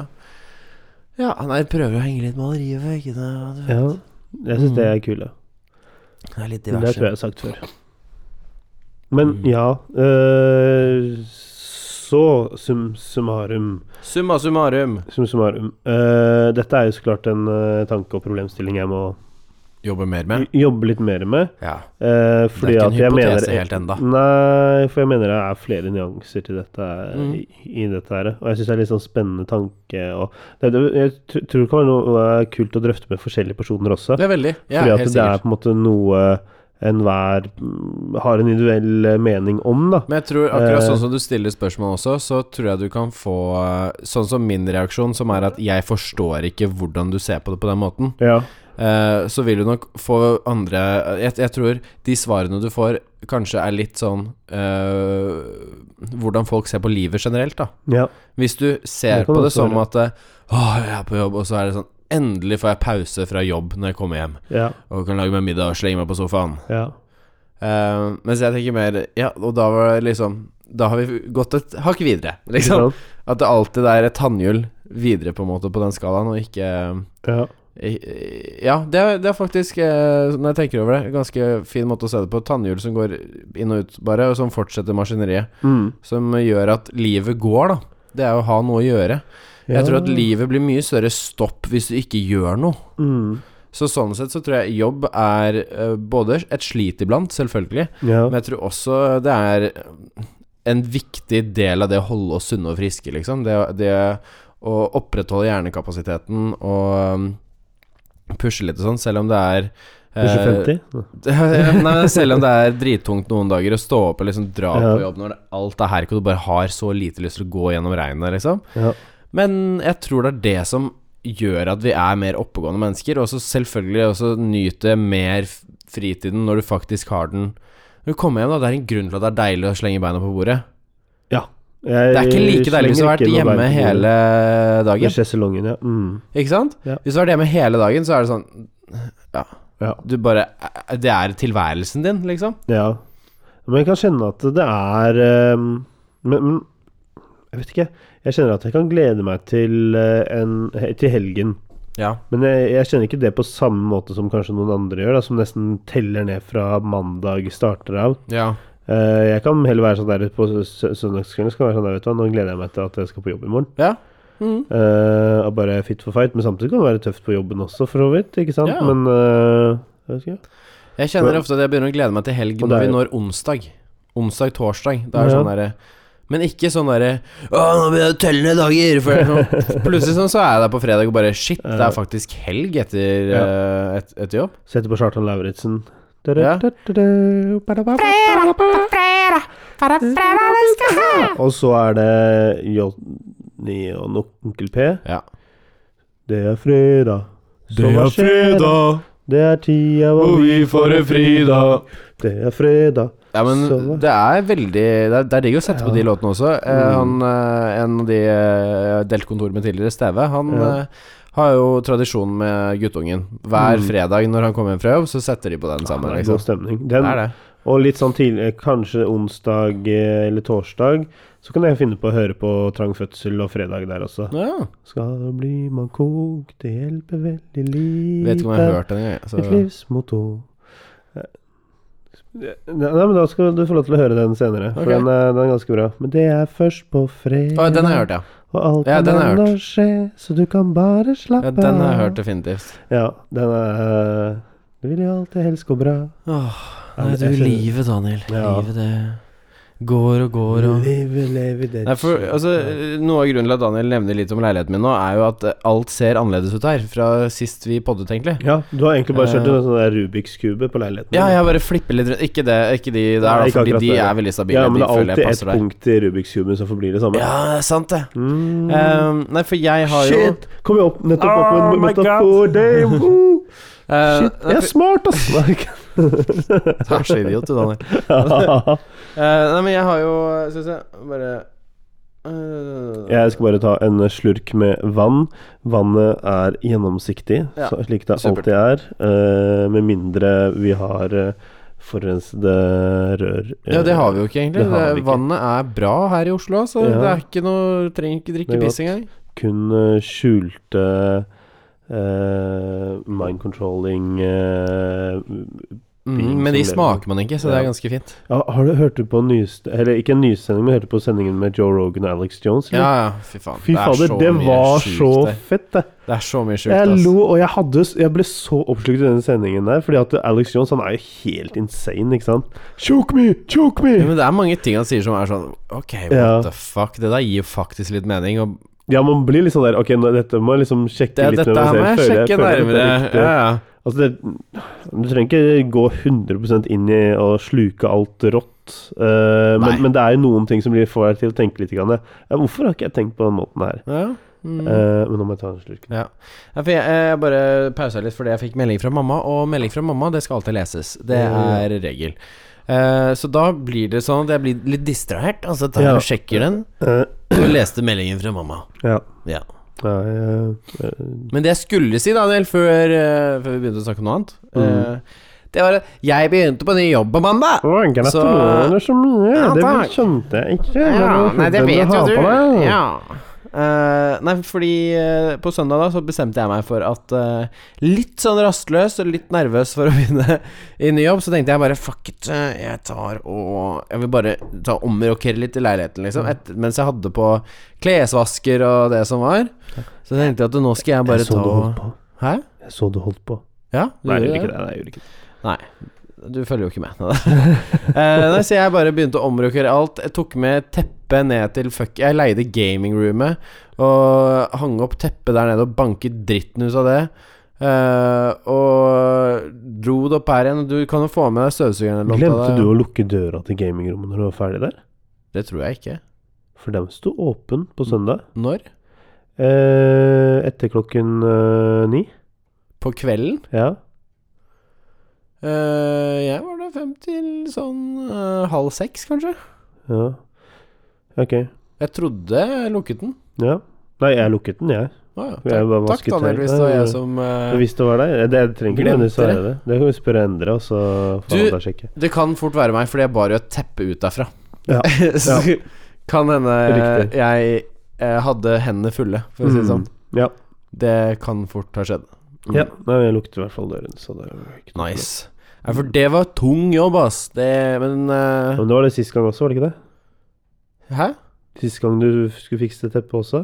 Speaker 2: ja, nei, prøver å henge litt malerier på veggene. og du vet.
Speaker 1: ja. Jeg syns det er
Speaker 2: Mm. Det
Speaker 1: kule.
Speaker 2: er Mm. litt
Speaker 1: Det tror jeg
Speaker 2: diverse.
Speaker 1: jeg har sagt før. Men ja eh, Så sum summarum.
Speaker 2: Summa summarum.
Speaker 1: Sum summarum. Eh, dette er jo så klart en eh, tanke og problemstilling jeg må
Speaker 2: Jobbe mer med.
Speaker 1: j- jobbe litt mer med.
Speaker 2: Ja.
Speaker 1: Eh,
Speaker 2: Det er
Speaker 1: fordi
Speaker 2: ikke
Speaker 1: at
Speaker 2: en
Speaker 1: jeg mener
Speaker 2: hypotese helt enda.
Speaker 1: Nei, for jeg mener det er flere nyanser til dette eh,
Speaker 2: Mm.
Speaker 1: i, i dette her. Og jeg syns det er litt sånn spennende tanke og det, det, Jeg tr- tror det kan være noe eh, kult å drøfte med forskjellige personer også.
Speaker 2: Det er veldig. Ja,
Speaker 1: fordi
Speaker 2: helt
Speaker 1: at det er
Speaker 2: sikkert.
Speaker 1: på en måte noe enhver mm, har en individuell eh, mening om, da.
Speaker 2: Men jeg tror akkurat
Speaker 1: Eh.
Speaker 2: sånn som du stiller spørsmål også, så tror jeg du kan få eh, Sånn som min reaksjon, som er at jeg forstår ikke hvordan du ser på det på den måten.
Speaker 1: Ja.
Speaker 2: Eh, så vil du nok få andre jeg, jeg tror de svarene du får, kanskje er litt sånn eh, Hvordan folk ser på livet generelt, da.
Speaker 1: ja.
Speaker 2: Hvis du ser
Speaker 1: Det kan
Speaker 2: på det
Speaker 1: også
Speaker 2: som at eh, Åh, jeg er på jobb, og så er det sånn Endelig får jeg pause fra jobb når jeg kommer hjem,
Speaker 1: Ja.
Speaker 2: og kan lage meg middag og slenge meg på sofaen.
Speaker 1: ja.
Speaker 2: Eh, mens jeg tenker mer Ja, og da var det liksom Da har vi gått et hakk videre, liksom.
Speaker 1: Ikke sant?
Speaker 2: At det alltid er et tannhjul videre, på en måte, på den skalaen, og ikke
Speaker 1: Ja.
Speaker 2: Eh, Ja, det er, det er faktisk, eh, når jeg tenker over det, en ganske fin måte å se det på. Tannhjul som går inn og ut, bare, og som fortsetter maskineriet.
Speaker 1: Mm.
Speaker 2: Som gjør at livet går, da. Det er jo å ha noe å gjøre.
Speaker 1: Ja.
Speaker 2: Jeg tror at livet blir mye større stopp hvis du ikke gjør noe.
Speaker 1: mm.
Speaker 2: Så sånn sett så tror jeg jobb er eh, både et slit iblant, selvfølgelig,
Speaker 1: Ja.
Speaker 2: men jeg tror også det er en viktig del av det å holde oss sunne og friske, liksom. Det, det å opprettholde hjernekapasiteten og um, pushe litt og sånn, selv om det er eh,
Speaker 1: Pushe 50?
Speaker 2: Nei, men selv om det er drittungt noen dager å stå opp og liksom dra
Speaker 1: Ja.
Speaker 2: på jobb når det, alt er herk og du bare har så lite lyst til å gå gjennom regnet, liksom.
Speaker 1: Ja.
Speaker 2: Men jeg tror det er det som gjør at vi er mer oppegående mennesker, og så selvfølgelig også nyte mer f- fritiden når du faktisk har den. Når du kommer hjem, da, det er en grunn til at det er deilig å slenge beina på bordet.
Speaker 1: Ja.
Speaker 2: Det er ikke like deilig hvis du har vært hjemme hele
Speaker 1: Med
Speaker 2: dagen,
Speaker 1: sjeselongen, ja. Mm.
Speaker 2: ikke sant?
Speaker 1: Ja.
Speaker 2: Hvis du har vært hjemme hele dagen, så er det sånn Ja.
Speaker 1: Ja.
Speaker 2: Du bare Det er tilværelsen din, liksom.
Speaker 1: ja. Men jeg kan kjenne at det er eh, men, men jeg vet ikke. Jeg kjenner at jeg kan glede meg til, eh, en, he- til helgen.
Speaker 2: Ja.
Speaker 1: Men jeg, jeg kjenner ikke det på samme måte som kanskje noen andre gjør, da, som nesten teller ned fra mandag starter av.
Speaker 2: Ja.
Speaker 1: Eh, jeg kan heller være sånn der på sø- søndagskvelden. Skal jeg være sånn der, vet du hva, Nå gleder jeg meg til at jeg skal på jobb i morgen.
Speaker 2: Ja. Mm.
Speaker 1: Eh, og bare fit for fight. Men samtidig kan det være tøft på jobben også, for så vidt. Ikke sant?
Speaker 2: Ja.
Speaker 1: Men eh, jeg vet ikke.
Speaker 2: Jeg kjenner ofte at jeg begynner å glede meg til helg
Speaker 1: Og
Speaker 2: når
Speaker 1: det
Speaker 2: vi
Speaker 1: er-
Speaker 2: når onsdag. Onsdag, torsdag. Da er det
Speaker 1: Ja.
Speaker 2: sånn derre Men ikke sånn derre Å, nå begynner jeg å telle ned dager! For nå- plutselig sånn så er jeg der på fredag og bare Shit, det er faktisk helg etter,
Speaker 1: Ja.
Speaker 2: eh, et, etter jobb.
Speaker 1: Setter på Chartan Lauritzen.
Speaker 2: Ja.
Speaker 1: Og så er det Johnny og no- Onkel P.
Speaker 2: Ja.
Speaker 1: Det er fredag. Så hva skjer da? Det er tida hvor vi
Speaker 2: får en fridag.
Speaker 1: Det er fredag.
Speaker 2: Ja, men
Speaker 1: Så-
Speaker 2: det er veldig Det er, det er digg å sette på de
Speaker 1: Mm.
Speaker 2: låtene også. Eh, han, eh, en av de eh, jeg har delt kontor med tidligere, Steve, han,
Speaker 1: Ja.
Speaker 2: eh, har jo tradisjon med guttungen. Hver
Speaker 1: Mm.
Speaker 2: fredag når han kommer hjem fra jobb, så setter de på den sammen.
Speaker 1: det er god
Speaker 2: liksom.
Speaker 1: stemning.
Speaker 2: Det
Speaker 1: Den,
Speaker 2: er det.
Speaker 1: og litt sånn tidlig, kanskje onsdag eh, eller torsdag, så kan jeg finne på å høre på Trang fødsel og fredag der også.
Speaker 2: Ja.
Speaker 1: Skal bli man kok, det hjelper veldig lite.
Speaker 2: Vet ikke om jeg har hørt den engang.
Speaker 1: Et
Speaker 2: så-
Speaker 1: livsmotto. Eh, Nei, nei, men da skal du få lov til å høre den senere,
Speaker 2: Ok.
Speaker 1: for den er, den er ganske bra. Men det er først på fredag,
Speaker 2: Å, Den har jeg hørt, ja.
Speaker 1: og alt
Speaker 2: Ja,
Speaker 1: kan
Speaker 2: den har jeg
Speaker 1: ennå
Speaker 2: hørt.
Speaker 1: skje, så du kan bare slappe
Speaker 2: ja. Den har jeg hørt definitivt.
Speaker 1: Ja, den er eh, Det vil jo alltid helst gå bra.
Speaker 2: Åh,
Speaker 1: Ja,
Speaker 2: nei,
Speaker 1: men
Speaker 2: du,
Speaker 1: jeg skjønner.
Speaker 2: livet, Daniel.
Speaker 1: Ja.
Speaker 2: Livet, det går og går og
Speaker 1: Live, live, det
Speaker 2: Nei, for altså, Noe av grunnen til at Daniel nevner litt om leiligheten min nå, er jo at eh, alt ser annerledes ut her fra sist vi poddet, egentlig.
Speaker 1: Ja, du har egentlig bare kjørt
Speaker 2: Eh,
Speaker 1: en sånn der Rubiks kube på leiligheten.
Speaker 2: Ja,
Speaker 1: din.
Speaker 2: jeg bare flipper litt rundt. Ikke, det, ikke de der,
Speaker 1: Nei,
Speaker 2: da,
Speaker 1: ikke
Speaker 2: fordi
Speaker 1: akkurat
Speaker 2: de
Speaker 1: det, ja.
Speaker 2: er veldig stabile.
Speaker 1: ja, men det
Speaker 2: de
Speaker 1: er
Speaker 2: føler
Speaker 1: alltid
Speaker 2: jeg
Speaker 1: ett
Speaker 2: passer der.
Speaker 1: punkt i Rubiks kuben som forblir det samme.
Speaker 2: Ja, det er sant det.
Speaker 1: Mm.
Speaker 2: Ehm, nei, for jeg har jo
Speaker 1: Shit! Kom jeg opp, nettopp opp med
Speaker 2: Oh
Speaker 1: en
Speaker 2: my
Speaker 1: metafor. Damn! Woo!
Speaker 2: eh,
Speaker 1: Shit,
Speaker 2: nei,
Speaker 1: jeg er smart, ass! Nei, ikke-
Speaker 2: for, Du er så idiot, du, Daniel. Eh, nei, men jeg har jo Skal vi se Bare eh,
Speaker 1: jeg skal bare ta en slurk med vann. Vannet er gjennomsiktig,
Speaker 2: Ja.
Speaker 1: så slik det
Speaker 2: Supert.
Speaker 1: alltid er. eh, med mindre vi har eh, forurensede rør. eh,
Speaker 2: Ja, det har vi jo ikke, egentlig.
Speaker 1: det har vi
Speaker 2: Det-
Speaker 1: ikke.
Speaker 2: Vannet er bra her i Oslo, så
Speaker 1: Ja.
Speaker 2: det er ikke noe Trenger ikke
Speaker 1: Det
Speaker 2: drikke
Speaker 1: er
Speaker 2: piss
Speaker 1: godt.
Speaker 2: engang.
Speaker 1: Kun eh, skjulte eh, mind controlling eh,
Speaker 2: Mm, men de
Speaker 1: som lever.
Speaker 2: smaker man ikke, så det
Speaker 1: Ja.
Speaker 2: er ganske fint.
Speaker 1: ja, ah, Har du hørt på nyest... Eller ikke en nysending, men hørte på sendingen med Joe Rogan og Alex Jones? eller?
Speaker 2: Ja, ja, fy faen.
Speaker 1: Fy
Speaker 2: Det er
Speaker 1: fader,
Speaker 2: så
Speaker 1: det
Speaker 2: mye
Speaker 1: var
Speaker 2: sjukt
Speaker 1: så
Speaker 2: der.
Speaker 1: fett, det.
Speaker 2: Det er så mye sjukt,
Speaker 1: Jeg
Speaker 2: ass.
Speaker 1: lo, og jeg, hadde, jeg ble så oppslukt i den sendingen der, fordi at Alex Jones han er jo helt insane, ikke sant? Choke me! Choke
Speaker 2: Ja,
Speaker 1: me!
Speaker 2: men det er mange ting han sier som er sånn Ok, what
Speaker 1: Ja.
Speaker 2: the fuck? Det der gir jo faktisk litt mening. Og
Speaker 1: Ja, man blir litt sånn der Ok, nå, dette må jeg liksom sjekke
Speaker 2: det,
Speaker 1: litt
Speaker 2: dette
Speaker 1: med
Speaker 2: her må
Speaker 1: meg
Speaker 2: jeg
Speaker 1: selv. Føler jeg-
Speaker 2: sjekke
Speaker 1: føler jeg dette
Speaker 2: nærmere.
Speaker 1: er riktig?
Speaker 2: Ja, ja.
Speaker 1: Altså, det, du trenger ikke gå 100 inn i og sluke alt rått,
Speaker 2: Nei.
Speaker 1: eh, men, men det er jo noen ting som blir- får deg til å tenke litt. Grann. Ja, hvorfor har ikke jeg tenkt på den måten her?
Speaker 2: ja. Mm.
Speaker 1: Eh, men nå må jeg ta en slurk.
Speaker 2: Ja. ja for jeg, eh, jeg bare pausa litt fordi jeg fikk melding fra mamma, og melding fra mamma, det skal alltid leses. Det
Speaker 1: Ja.
Speaker 2: er regel. Eh, så da blir det sånn at jeg blir litt distrahert, og så tar jeg
Speaker 1: Ja.
Speaker 2: og sjekker den.
Speaker 1: Eh,
Speaker 2: Og leste meldingen fra mamma.
Speaker 1: ja.
Speaker 2: Ja.
Speaker 1: Nei, eh, eh,
Speaker 2: Men det jeg skulle si, Daniel, før, eh, før vi begynte å snakke om noe annet,
Speaker 1: Mm.
Speaker 2: eh, det var at jeg begynte på ny jobb på mandag!
Speaker 1: Å, gratulerer så mye!
Speaker 2: Ja,
Speaker 1: det
Speaker 2: takk.
Speaker 1: skjønte jeg ikke.
Speaker 2: Ja, nei, det vet jo
Speaker 1: jo
Speaker 2: du. Ja. Eh, nei, fordi eh, på søndag da så bestemte jeg meg for at eh, Litt sånn rastløs og litt nervøs for å begynne i ny jobb, så tenkte jeg bare fuck it, eh, jeg tar og Jeg vil bare ta og omrokkere litt i leiligheten, liksom.
Speaker 1: Mm.
Speaker 2: Et, mens jeg hadde på klesvasker og det som var. Så tenkte jeg at nå skal jeg
Speaker 1: Jeg
Speaker 2: bare
Speaker 1: så
Speaker 2: ta
Speaker 1: du holdt
Speaker 2: og
Speaker 1: på.
Speaker 2: Hæ?
Speaker 1: Jeg så du holdt på.
Speaker 2: Ja? du
Speaker 1: Nei, jeg
Speaker 2: gjorde
Speaker 1: gjorde ikke det. Nei, jeg gjorde ikke det.
Speaker 2: du følger jo ikke med. Eh, nei, så jeg bare begynte å omrokere alt. Jeg tok med teppet ned til fuck Jeg leide gamingroomet og hang opp teppet der nede og banket dritten ut av det. Eh, og dro det opp her igjen. Du kan jo få med deg støvsugeren. eller noe av
Speaker 1: Glemte
Speaker 2: det.
Speaker 1: du å lukke døra til gamingrommet når du var ferdig der?
Speaker 2: Det tror jeg ikke.
Speaker 1: For den sto åpen på søndag
Speaker 2: Når?
Speaker 1: eh, etter klokken eh, ni.
Speaker 2: På kvelden?
Speaker 1: Ja.
Speaker 2: Eh, jeg var da fem til sånn eh, halv seks, kanskje.
Speaker 1: ja. Ok.
Speaker 2: Jeg trodde jeg lukket den.
Speaker 1: Ja. Nei, jeg lukket den, jeg.
Speaker 2: Å ja.
Speaker 1: Jeg bare
Speaker 2: Takk, takk
Speaker 1: vasket
Speaker 2: Daniel, hvis det
Speaker 1: her.
Speaker 2: var
Speaker 1: Nei,
Speaker 2: jeg
Speaker 1: det-
Speaker 2: som eh,
Speaker 1: Hvis det var deg. eh, Det jeg trenger ikke
Speaker 2: Glemte
Speaker 1: nødvendigvis å være det. Det kan vi spørre Endre, og så får
Speaker 2: Du-
Speaker 1: han ta og sjekke.
Speaker 2: Det kan fort være meg, fordi jeg bar jo et teppe ut derfra.
Speaker 1: Ja,
Speaker 2: så kan hende
Speaker 1: Riktig.
Speaker 2: jeg eh, hadde hendene fulle, for å si det sånn.
Speaker 1: Mm. Ja.
Speaker 2: Det kan fort ha skjedd. Mm.
Speaker 1: Ja, nei, jeg lukter i hvert fall døren, så det er jo ikke noe problem.
Speaker 2: Nice. Nei, for det var tung jobb, ass. Det, men eh,
Speaker 1: Men det var det sist gang også, var det ikke det?
Speaker 2: Hæ?
Speaker 1: Sist gang du skulle fikse teppet også?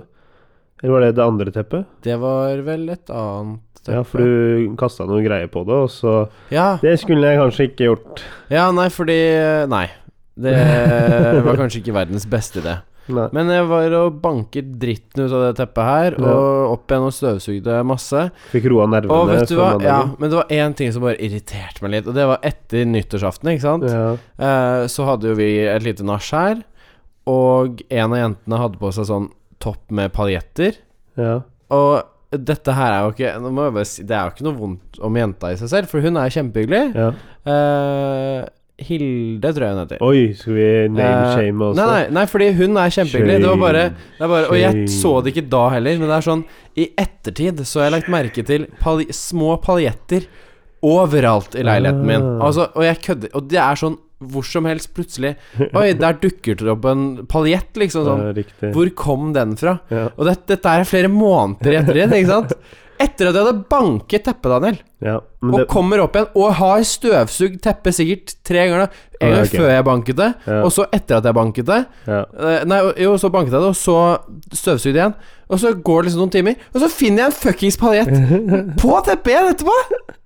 Speaker 1: Eller var det det andre teppet?
Speaker 2: Det var vel et annet teppe.
Speaker 1: Ja, for du kasta noe greier på det, og så
Speaker 2: ja,
Speaker 1: Det skulle jeg kanskje ikke gjort.
Speaker 2: ja, nei, fordi eh, Nei. Det var kanskje ikke verdens beste idé.
Speaker 1: Nei.
Speaker 2: Men jeg var og banket dritten ut av det teppet her,
Speaker 1: Ja.
Speaker 2: og opp igjen og støvsugde masse.
Speaker 1: Fikk roa nervene.
Speaker 2: Og vet du hva? Ja,
Speaker 1: før mandagen.
Speaker 2: men det sånn var én ting som bare irriterte meg litt, og det var etter nyttårsaften, ikke sant?
Speaker 1: Ja.
Speaker 2: Eh, så hadde jo vi et lite nach her, og en av jentene hadde på seg sånn topp med paljetter.
Speaker 1: ja. Og
Speaker 2: Og dette her er jo ikke nå må jeg bare si, Det er jo ikke noe vondt om jenta i seg selv, for hun er kjempehyggelig.
Speaker 1: ja.
Speaker 2: Eh, Hilde, tror jeg hun heter.
Speaker 1: Oi, skal vi name-shame også?
Speaker 2: Eh, Nei, nei, nei, fordi hun er kjempehyggelig. Det var bare, det er bare Og jeg
Speaker 1: Shame.
Speaker 2: så det ikke da heller, men det er sånn I ettertid så har jeg lagt merke til palj små paljetter overalt i leiligheten min.
Speaker 1: Ah.
Speaker 2: Altså, og jeg kødder Og det er sånn hvor som helst plutselig Oi, der dukker det opp en paljett, liksom sånn.
Speaker 1: Ja, riktig.
Speaker 2: Hvor kom den fra?
Speaker 1: Ja.
Speaker 2: Og det, dette er flere måneder i ettertid, ikke sant? Etter at jeg hadde banket teppet, Daniel,
Speaker 1: ja, men
Speaker 2: og
Speaker 1: det,
Speaker 2: kommer opp igjen og har støvsugd teppet sikkert tre ganger. da. En
Speaker 1: Ja,
Speaker 2: gang
Speaker 1: ok.
Speaker 2: før jeg banket det,
Speaker 1: Ja.
Speaker 2: og så etter at jeg banket det.
Speaker 1: ja.
Speaker 2: Eh, Nei, jo, så banket jeg det, og så støvsugde jeg igjen. Og så går det liksom noen timer, og så finner jeg en fuckings paljett på teppet igjen etterpå!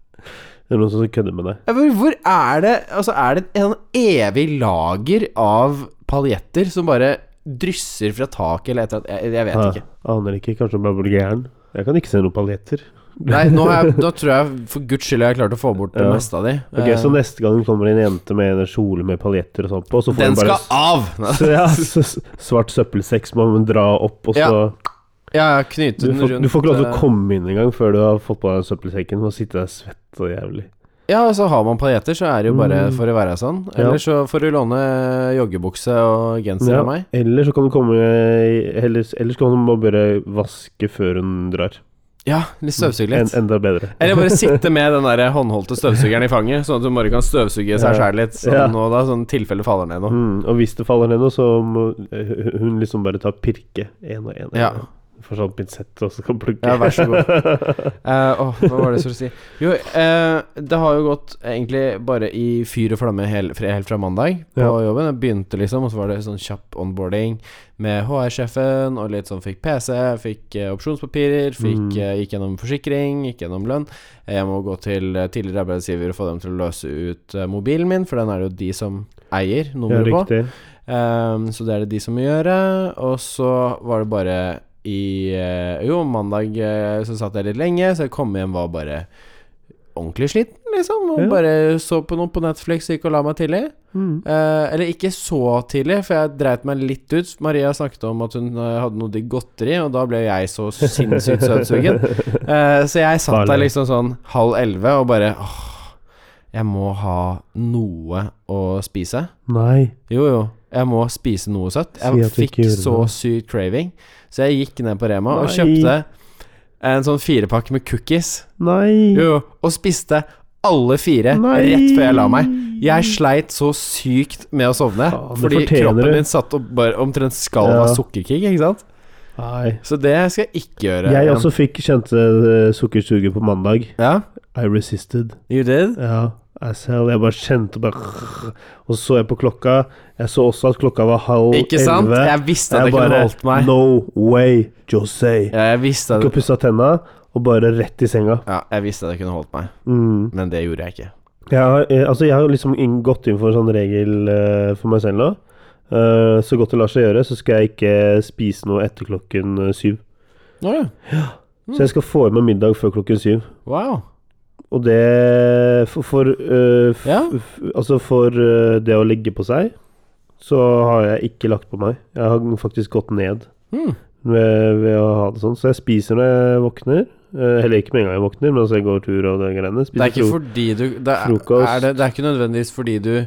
Speaker 1: det er noen som kødder med deg.
Speaker 2: Jeg bare, Hvor er det Altså, er det en evig lager av paljetter som bare drysser fra taket eller et eller annet? Jeg, jeg vet
Speaker 1: Ja,
Speaker 2: ikke.
Speaker 1: Ah, aner ikke. Kanskje du bare blir gæren. Jeg kan ikke se noen paljetter.
Speaker 2: Nei, nå, har jeg, nå tror jeg for guds skyld jeg har klart å få bort det
Speaker 1: Ja.
Speaker 2: meste av de.
Speaker 1: Ok,
Speaker 2: Eh,
Speaker 1: Så neste gang kommer en jente med en kjole med paljetter og sånt på, og så får
Speaker 2: den
Speaker 1: hun bare
Speaker 2: skal av! Nei.
Speaker 1: så, ja, så, s- svart søppelsekk må man dra opp, og så
Speaker 2: Ja, ja, knyte
Speaker 1: du,
Speaker 2: den
Speaker 1: får,
Speaker 2: rundt
Speaker 1: du får ikke lov til
Speaker 2: eh,
Speaker 1: å komme inn engang før du har fått på deg søppelsekken og sitte der svett og jævlig.
Speaker 2: Ja, altså har man paljetter, så er det jo bare
Speaker 1: Mm.
Speaker 2: for å være sånn.
Speaker 1: Ja.
Speaker 2: Eller så får du låne joggebukse og genser
Speaker 1: Ja,
Speaker 2: av meg.
Speaker 1: Eller så kan du komme Ellers, ellers kan hun bare vaske før hun drar.
Speaker 2: Ja, litt støvsug
Speaker 1: En,
Speaker 2: litt.
Speaker 1: enda bedre.
Speaker 2: Eller bare sitte med den der håndholdte støvsugeren i fanget, sånn at du bare kan støvsuge seg
Speaker 1: Ja.
Speaker 2: sjæl litt, sånn
Speaker 1: Ja.
Speaker 2: nå da, sånn tilfelle faller ned noe.
Speaker 1: Mm, og hvis det faller ned noe, så må eh, hun liksom bare ta pirke én og én.
Speaker 2: Ja.
Speaker 1: Får sånn pinsett og så kan plukke.
Speaker 2: Ja, vær så god. Eh, Åh, hva var det jeg skulle si? Jo, eh, det har jo gått egentlig bare i fyr og flamme hel- fra- helt fra mandag på
Speaker 1: Ja.
Speaker 2: jobben. Jeg begynte liksom, og så var det sånn kjapp onboarding med HR-sjefen, og litt sånn fikk PC, fikk eh, opsjonspapirer, fikk,
Speaker 1: Mm.
Speaker 2: eh, gikk gjennom forsikring, gikk gjennom lønn. Eh, Jeg må gå til eh, tidligere arbeidsgiver og få dem til å løse ut eh, mobilen min, for den er det jo de som eier
Speaker 1: ja,
Speaker 2: nummeret på.
Speaker 1: riktig.
Speaker 2: Ehm, så det er det de som må gjøre. Og så var det bare i eh, Jo, mandag eh, så satt jeg litt lenge, så jeg kom hjem var bare ordentlig sliten, liksom. Og
Speaker 1: Ja.
Speaker 2: bare så på noe på Netflix, gikk og la meg tidlig.
Speaker 1: Mm.
Speaker 2: Eh, eller ikke så tidlig, for jeg dreit meg litt ut. Maria snakket om at hun eh, hadde noe digg godteri, og da ble jeg så sinnssykt søtsugen. Eh, så jeg satt der
Speaker 1: Farlig.
Speaker 2: liksom sånn halv elleve og bare åh, jeg må ha noe å spise.
Speaker 1: Nei.
Speaker 2: Jo, jo. Jeg må spise noe søtt.
Speaker 1: Si
Speaker 2: Jeg
Speaker 1: at du
Speaker 2: fikk
Speaker 1: ikke gjorde
Speaker 2: så
Speaker 1: det.
Speaker 2: sykt craving, så jeg gikk ned på Rema og
Speaker 1: Nei.
Speaker 2: kjøpte en sånn firepakke med cookies.
Speaker 1: Nei.
Speaker 2: Jo, jo. Og spiste alle fire rett før jeg la meg. Jeg sleit så sykt med å sovne,
Speaker 1: Faen, det
Speaker 2: fordi
Speaker 1: fortjener
Speaker 2: kroppen
Speaker 1: du.
Speaker 2: min satt og bare omtrent skalv
Speaker 1: Ja.
Speaker 2: av sukkerkick, ikke sant?
Speaker 1: Nei.
Speaker 2: Så det skal jeg ikke gjøre.
Speaker 1: Jeg
Speaker 2: igjen.
Speaker 1: også fikk kjente eh, sukkersuget på mandag.
Speaker 2: Ja,
Speaker 1: I resisted.
Speaker 2: you did?
Speaker 1: Ja, jeg selv, jeg bare kjente bare Og så så jeg på klokka. Jeg så også at klokka var halv
Speaker 2: Ikke sant?
Speaker 1: elleve.
Speaker 2: Jeg visste at jeg, kunne holdt meg.
Speaker 1: No way, Jose.
Speaker 2: Ja, jeg visste at,
Speaker 1: Ikke pussa tenna, og bare rett i senga.
Speaker 2: ja, jeg visste at jeg kunne holdt meg,
Speaker 1: Mm.
Speaker 2: men det gjorde jeg ikke.
Speaker 1: Jeg har, eh, altså, jeg har liksom inn, gått inn for en sånn regel eh, for meg selv nå. Eh, så godt det lar seg gjøre, så skal jeg ikke spise noe etter klokken eh, syv.
Speaker 2: Å ja. Mm.
Speaker 1: Så jeg skal få i meg middag før klokken syv.
Speaker 2: Wow.
Speaker 1: Og det For, for, eh, f,
Speaker 2: Ja.
Speaker 1: f, altså for eh, det å ligge på seg, så har jeg ikke lagt på meg. Jeg har faktisk gått ned
Speaker 2: Hmm.
Speaker 1: ved, ved å ha det sånn. Så jeg spiser når jeg våkner. Eh, Heller ikke med en gang jeg våkner, men altså jeg går tur og det greiene.
Speaker 2: Det er
Speaker 1: Spiser
Speaker 2: ikke
Speaker 1: fro-
Speaker 2: fordi du det er,
Speaker 1: frokost.
Speaker 2: Er det, det er ikke nødvendigvis fordi du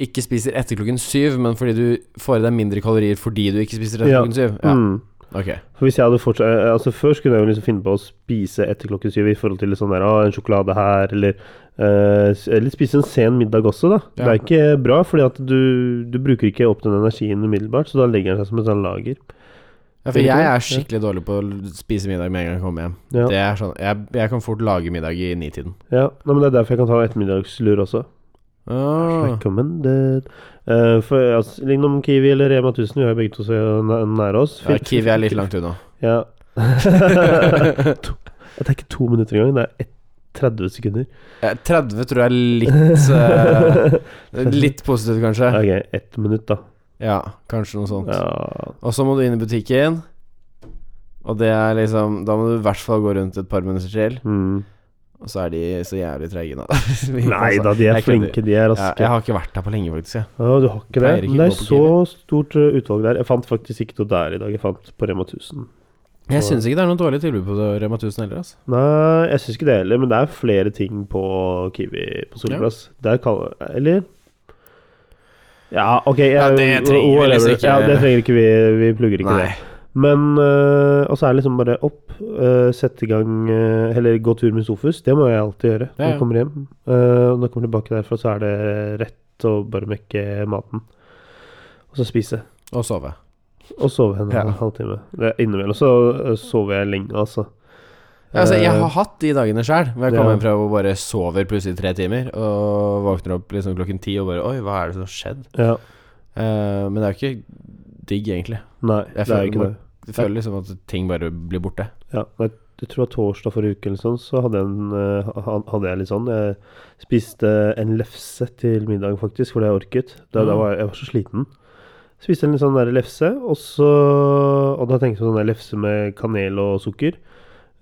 Speaker 2: ikke spiser etter klokken syv, men fordi du får i deg mindre kalorier fordi du ikke spiser etter
Speaker 1: Ja.
Speaker 2: klokken syv? Ja,
Speaker 1: Mm.
Speaker 2: ok.
Speaker 1: For hvis jeg hadde fortsatt eh, Altså Før skulle jeg jo liksom finne på å spise etter klokken syv i forhold til sånn der, ah, en sjokolade her, eller eh, s- Eller spise en sen middag også, da.
Speaker 2: Ja.
Speaker 1: Det er ikke bra, fordi at du, du bruker ikke opp den energien umiddelbart, så da legger den seg som et sånt lager.
Speaker 2: Ja, for jeg er skikkelig dårlig på å l- spise middag med en gang jeg kommer hjem.
Speaker 1: Ja.
Speaker 2: Det er sånn, jeg, jeg kan fort lage middag i nitiden.
Speaker 1: Ja, nei, men Det er derfor jeg kan ta ettermiddagslur også.
Speaker 2: Ah.
Speaker 1: Recommended. Eh, for altså, Lignom Kiwi eller Rema 1000, vi har jo begge to så næ- nære oss.
Speaker 2: Ja, Kiwi er litt langt unna.
Speaker 1: Ja. to, det er ikke to minutter engang, det er ett- 30 sekunder.
Speaker 2: Eh, 30 tror jeg er litt eh, Litt positivt, kanskje.
Speaker 1: Ok, ett minutt, da.
Speaker 2: Ja, kanskje noe sånt.
Speaker 1: Ja,
Speaker 2: Og så må du inn i butikken, og det er liksom Da må du i hvert fall gå rundt et par minutter til.
Speaker 1: mm.
Speaker 2: Og så er de så jævlig treige, da.
Speaker 1: Nei da, de
Speaker 2: altså-
Speaker 1: er
Speaker 2: jeg kødder.
Speaker 1: flinke, de
Speaker 2: Ja,
Speaker 1: altså. er raske.
Speaker 2: jeg
Speaker 1: Ja,
Speaker 2: har ikke vært der på lenge, faktisk. Jeg.
Speaker 1: du har ikke det?
Speaker 2: Pleier ikke
Speaker 1: Men
Speaker 2: å
Speaker 1: det er
Speaker 2: gå på
Speaker 1: så stort eh, utvalg der. Jeg fant faktisk ikke noe der i dag. Jeg fant på Rema 1000.
Speaker 2: Jeg
Speaker 1: Så-
Speaker 2: syns ikke det er noe dårlig tilbud på det, Rema 1000 heller. Altså.
Speaker 1: Nei, jeg syns ikke det heller, men det er flere ting på Kiwi på Solplass. Der kan Eller Ja, ok. Jeg,
Speaker 2: Ja, det trenger vi
Speaker 1: whatever.
Speaker 2: liksom ikke.
Speaker 1: Ja, det trenger ikke vi. Vi plugger ikke
Speaker 2: Nei.
Speaker 1: det. Men øh, Og så er det liksom bare opp, øh, sette i gang øh, Eller gå tur med Sofus. Det må jeg alltid gjøre når
Speaker 2: Ja, ja.
Speaker 1: jeg kommer hjem. Øh, og når jeg kommer tilbake derfra, så er det rett å bare mekke maten. Og så spise.
Speaker 2: Og sove.
Speaker 1: Og sove en
Speaker 2: Ja.
Speaker 1: halvtime. Det er Innimellom så øh, sover jeg lenge, altså.
Speaker 2: Ja, altså, jeg
Speaker 1: Eh,
Speaker 2: har hatt de dagene sjøl, hvor jeg
Speaker 1: Ja.
Speaker 2: kommer hjem fra og bare sover plutselig tre timer, og våkner opp liksom klokken ti og bare Oi, hva er det som har skjedd?
Speaker 1: ja.
Speaker 2: Eh, men det er jo ikke digg, egentlig.
Speaker 1: Nei,
Speaker 2: Jeg
Speaker 1: det er
Speaker 2: føler
Speaker 1: jo ikke
Speaker 2: meg-
Speaker 1: det.
Speaker 2: Du føler liksom at ting bare blir borte.
Speaker 1: Ja, jeg, jeg tror at torsdag forrige uke eller sånn, så hadde jeg, en, eh, ha- hadde jeg litt sånn Jeg spiste en lefse til middag, faktisk, fordi jeg orket. Da, da
Speaker 2: Mm.
Speaker 1: var jeg, jeg var så sliten. Spiste en litt sånn der lefse, og så Og da tenkte jeg på sånn der lefse med kanel og sukker.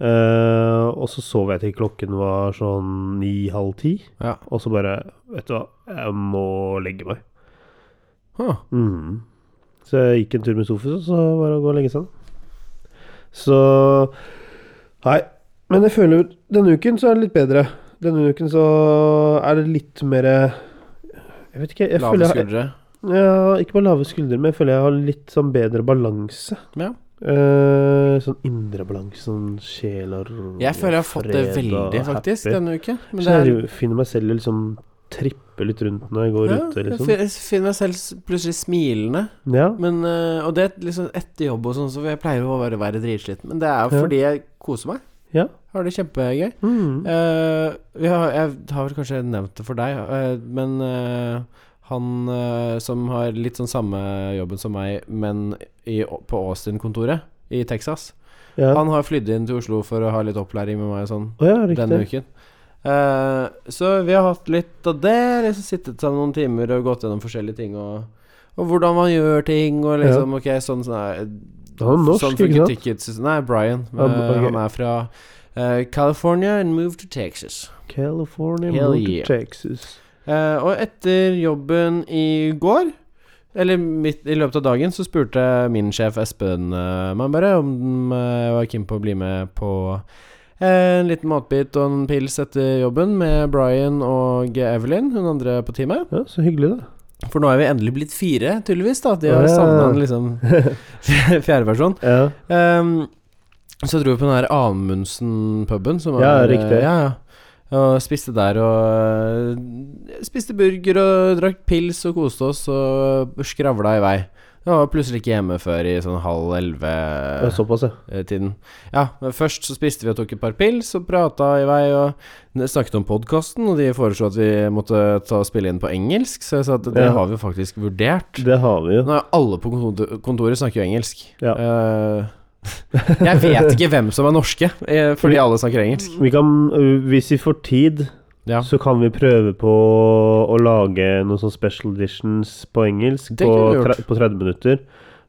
Speaker 1: Eh, og så sov jeg til klokken var sånn ni-halv ti,
Speaker 2: Ja.
Speaker 1: og så bare Vet du hva, jeg må legge meg.
Speaker 2: Huh.
Speaker 1: Mm. Så jeg gikk en tur med Sofus, og så var det å gå og legge seg. da. Så Nei. Men jeg føler denne uken så er det litt bedre. Denne uken så er det litt mer Jeg vet ikke jeg
Speaker 2: Lave
Speaker 1: føler jeg,
Speaker 2: skuldre.
Speaker 1: ja, Ikke bare lave skuldre, men jeg føler jeg har litt sånn bedre balanse.
Speaker 2: Ja.
Speaker 1: Eh, sånn indre balanse, sånn sjeler
Speaker 2: Jeg føler jeg har fått det veldig, faktisk, denne uken. Men
Speaker 1: Men
Speaker 2: det er
Speaker 1: jeg finner meg selv liksom trippe litt rundt når jeg går
Speaker 2: ja,
Speaker 1: ute,
Speaker 2: jeg
Speaker 1: liksom.
Speaker 2: fin- jeg finner meg selv s- plutselig smilende.
Speaker 1: Ja.
Speaker 2: Men, eh, og det er liksom etter jobb og sånn, så jeg pleier å bare være dritsliten. Men det er jo
Speaker 1: Ja.
Speaker 2: fordi jeg koser meg.
Speaker 1: Ja.
Speaker 2: Har det kjempegøy.
Speaker 1: Mm.
Speaker 2: Eh, vi har, jeg har vel kanskje nevnt det for deg, eh, men eh, han eh, som har litt sånn samme jobben som meg, men i, på Austin-kontoret i Texas
Speaker 1: ja.
Speaker 2: Han har flydd inn til Oslo for å ha litt opplæring med meg og sånn
Speaker 1: Å ja, riktig.
Speaker 2: denne uken. Eh, så vi har hatt litt av det, liksom sittet sammen noen timer og gått gjennom forskjellige ting og og hvordan man gjør ting, og liksom Ok, sånn sånn er
Speaker 1: Han er norsk,
Speaker 2: sånn
Speaker 1: ikke
Speaker 2: funker
Speaker 1: sant?
Speaker 2: tickets Nei, Brian. Eh,
Speaker 1: Ja, ok.
Speaker 2: Han er fra eh, California and moved to Texas.
Speaker 1: California
Speaker 2: Hell
Speaker 1: moved
Speaker 2: yeah.
Speaker 1: to Texas.
Speaker 2: Eh, og etter jobben i går, eller midt i løpet av dagen, så spurte min sjef Espen eh, meg bare om eh, jeg var keen på å bli med på eh, en liten matbit og en pils etter jobben med Brian og Evelyn, hun andre på teamet.
Speaker 1: Ja, så hyggelig, da.
Speaker 2: For nå er vi endelig blitt fire, tydeligvis. da De har
Speaker 1: Ja.
Speaker 2: savna en liksom fjerdeperson.
Speaker 1: Ja,
Speaker 2: Um, så dro vi på den her Anmundsen-puben. som
Speaker 1: Ja,
Speaker 2: er-
Speaker 1: riktig.
Speaker 2: Ja, ja. Og spiste der og øh, Spiste burger og drakk pils og koste oss og skravla i vei. Jeg var plutselig ikke hjemme før i sånn halv
Speaker 1: ja
Speaker 2: elleve-tiden.
Speaker 1: såpass, ja.
Speaker 2: Ja, men først så spiste vi og tok et par pils og prata i vei og ne- snakket om podkasten, og de foreslo at vi måtte ta og spille inn på engelsk, så jeg sa at det
Speaker 1: Ja.
Speaker 2: har vi faktisk vurdert.
Speaker 1: Det har vi jo.
Speaker 2: Nå er alle på kontor- kontoret snakker jo engelsk.
Speaker 1: Ja.
Speaker 2: Eh, jeg vet ikke hvem som er norske, eh, fordi alle snakker engelsk.
Speaker 1: Vi kan, ø, hvis vi får tid,
Speaker 2: Ja.
Speaker 1: så kan vi prøve på å lage noen sånn special editions på engelsk
Speaker 2: Det
Speaker 1: på,
Speaker 2: kunne vi gjort.
Speaker 1: tre, på 30 minutter.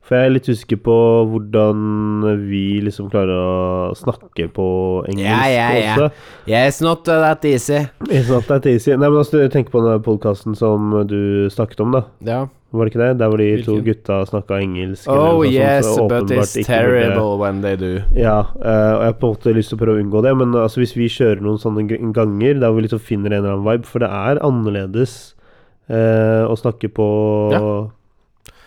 Speaker 1: For jeg er litt usikker på hvordan vi liksom klarer å snakke på engelsk
Speaker 2: Ja, ja, ja.
Speaker 1: også.
Speaker 2: Yeah, it's not that easy.
Speaker 1: It's not that easy. Nei, men altså, jeg tenker på den podkasten som du snakket om, da.
Speaker 2: Ja.
Speaker 1: Var det ikke det? Der hvor de to
Speaker 2: Hvilken?
Speaker 1: gutta snakka engelsk. eller
Speaker 2: Oh
Speaker 1: noe sånt,
Speaker 2: yes,
Speaker 1: så
Speaker 2: but
Speaker 1: sånn åpenbart
Speaker 2: it's
Speaker 1: ikke burde-
Speaker 2: terrible when they do.
Speaker 1: Ja, eh, og jeg har på en måte lyst til å prøve å unngå det, men altså, hvis vi kjører noen sånne g- ganger der vi liksom finner en eller annen vibe, for det er annerledes eh, å snakke på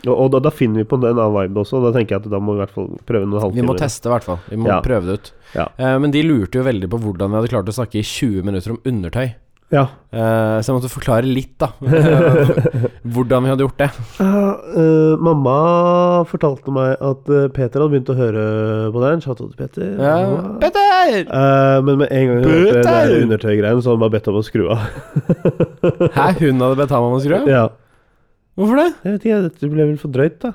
Speaker 1: Og, og da, da finner vi på en annen vibe også, og da tenker jeg at da må vi i hvert fall prøve noen
Speaker 2: Vi
Speaker 1: halvtimer.
Speaker 2: må teste, i hvert fall. Vi må
Speaker 1: Ja.
Speaker 2: prøve det ut.
Speaker 1: Ja.
Speaker 2: Eh, men de lurte jo veldig på hvordan jeg hadde klart å snakke i 20 minutter om undertøy.
Speaker 1: Ja.
Speaker 2: Eh, så jeg måtte forklare litt, da. hvordan vi hadde gjort det.
Speaker 1: Eh, mamma fortalte meg at eh, Peter hadde begynt å høre på den. Shout out til Peter.
Speaker 2: Ja.
Speaker 1: Mamma.
Speaker 2: Petter!
Speaker 1: Eh, men med en gang hun hørte det
Speaker 2: Peter!
Speaker 1: der undertøygreiene, så hadde hun bare bedt om å skru av.
Speaker 2: Hæ, hun hadde bedt ham om å skru av?
Speaker 1: ja.
Speaker 2: Hvorfor det?
Speaker 1: Jeg vet ikke, dette ble vel for drøyt, da.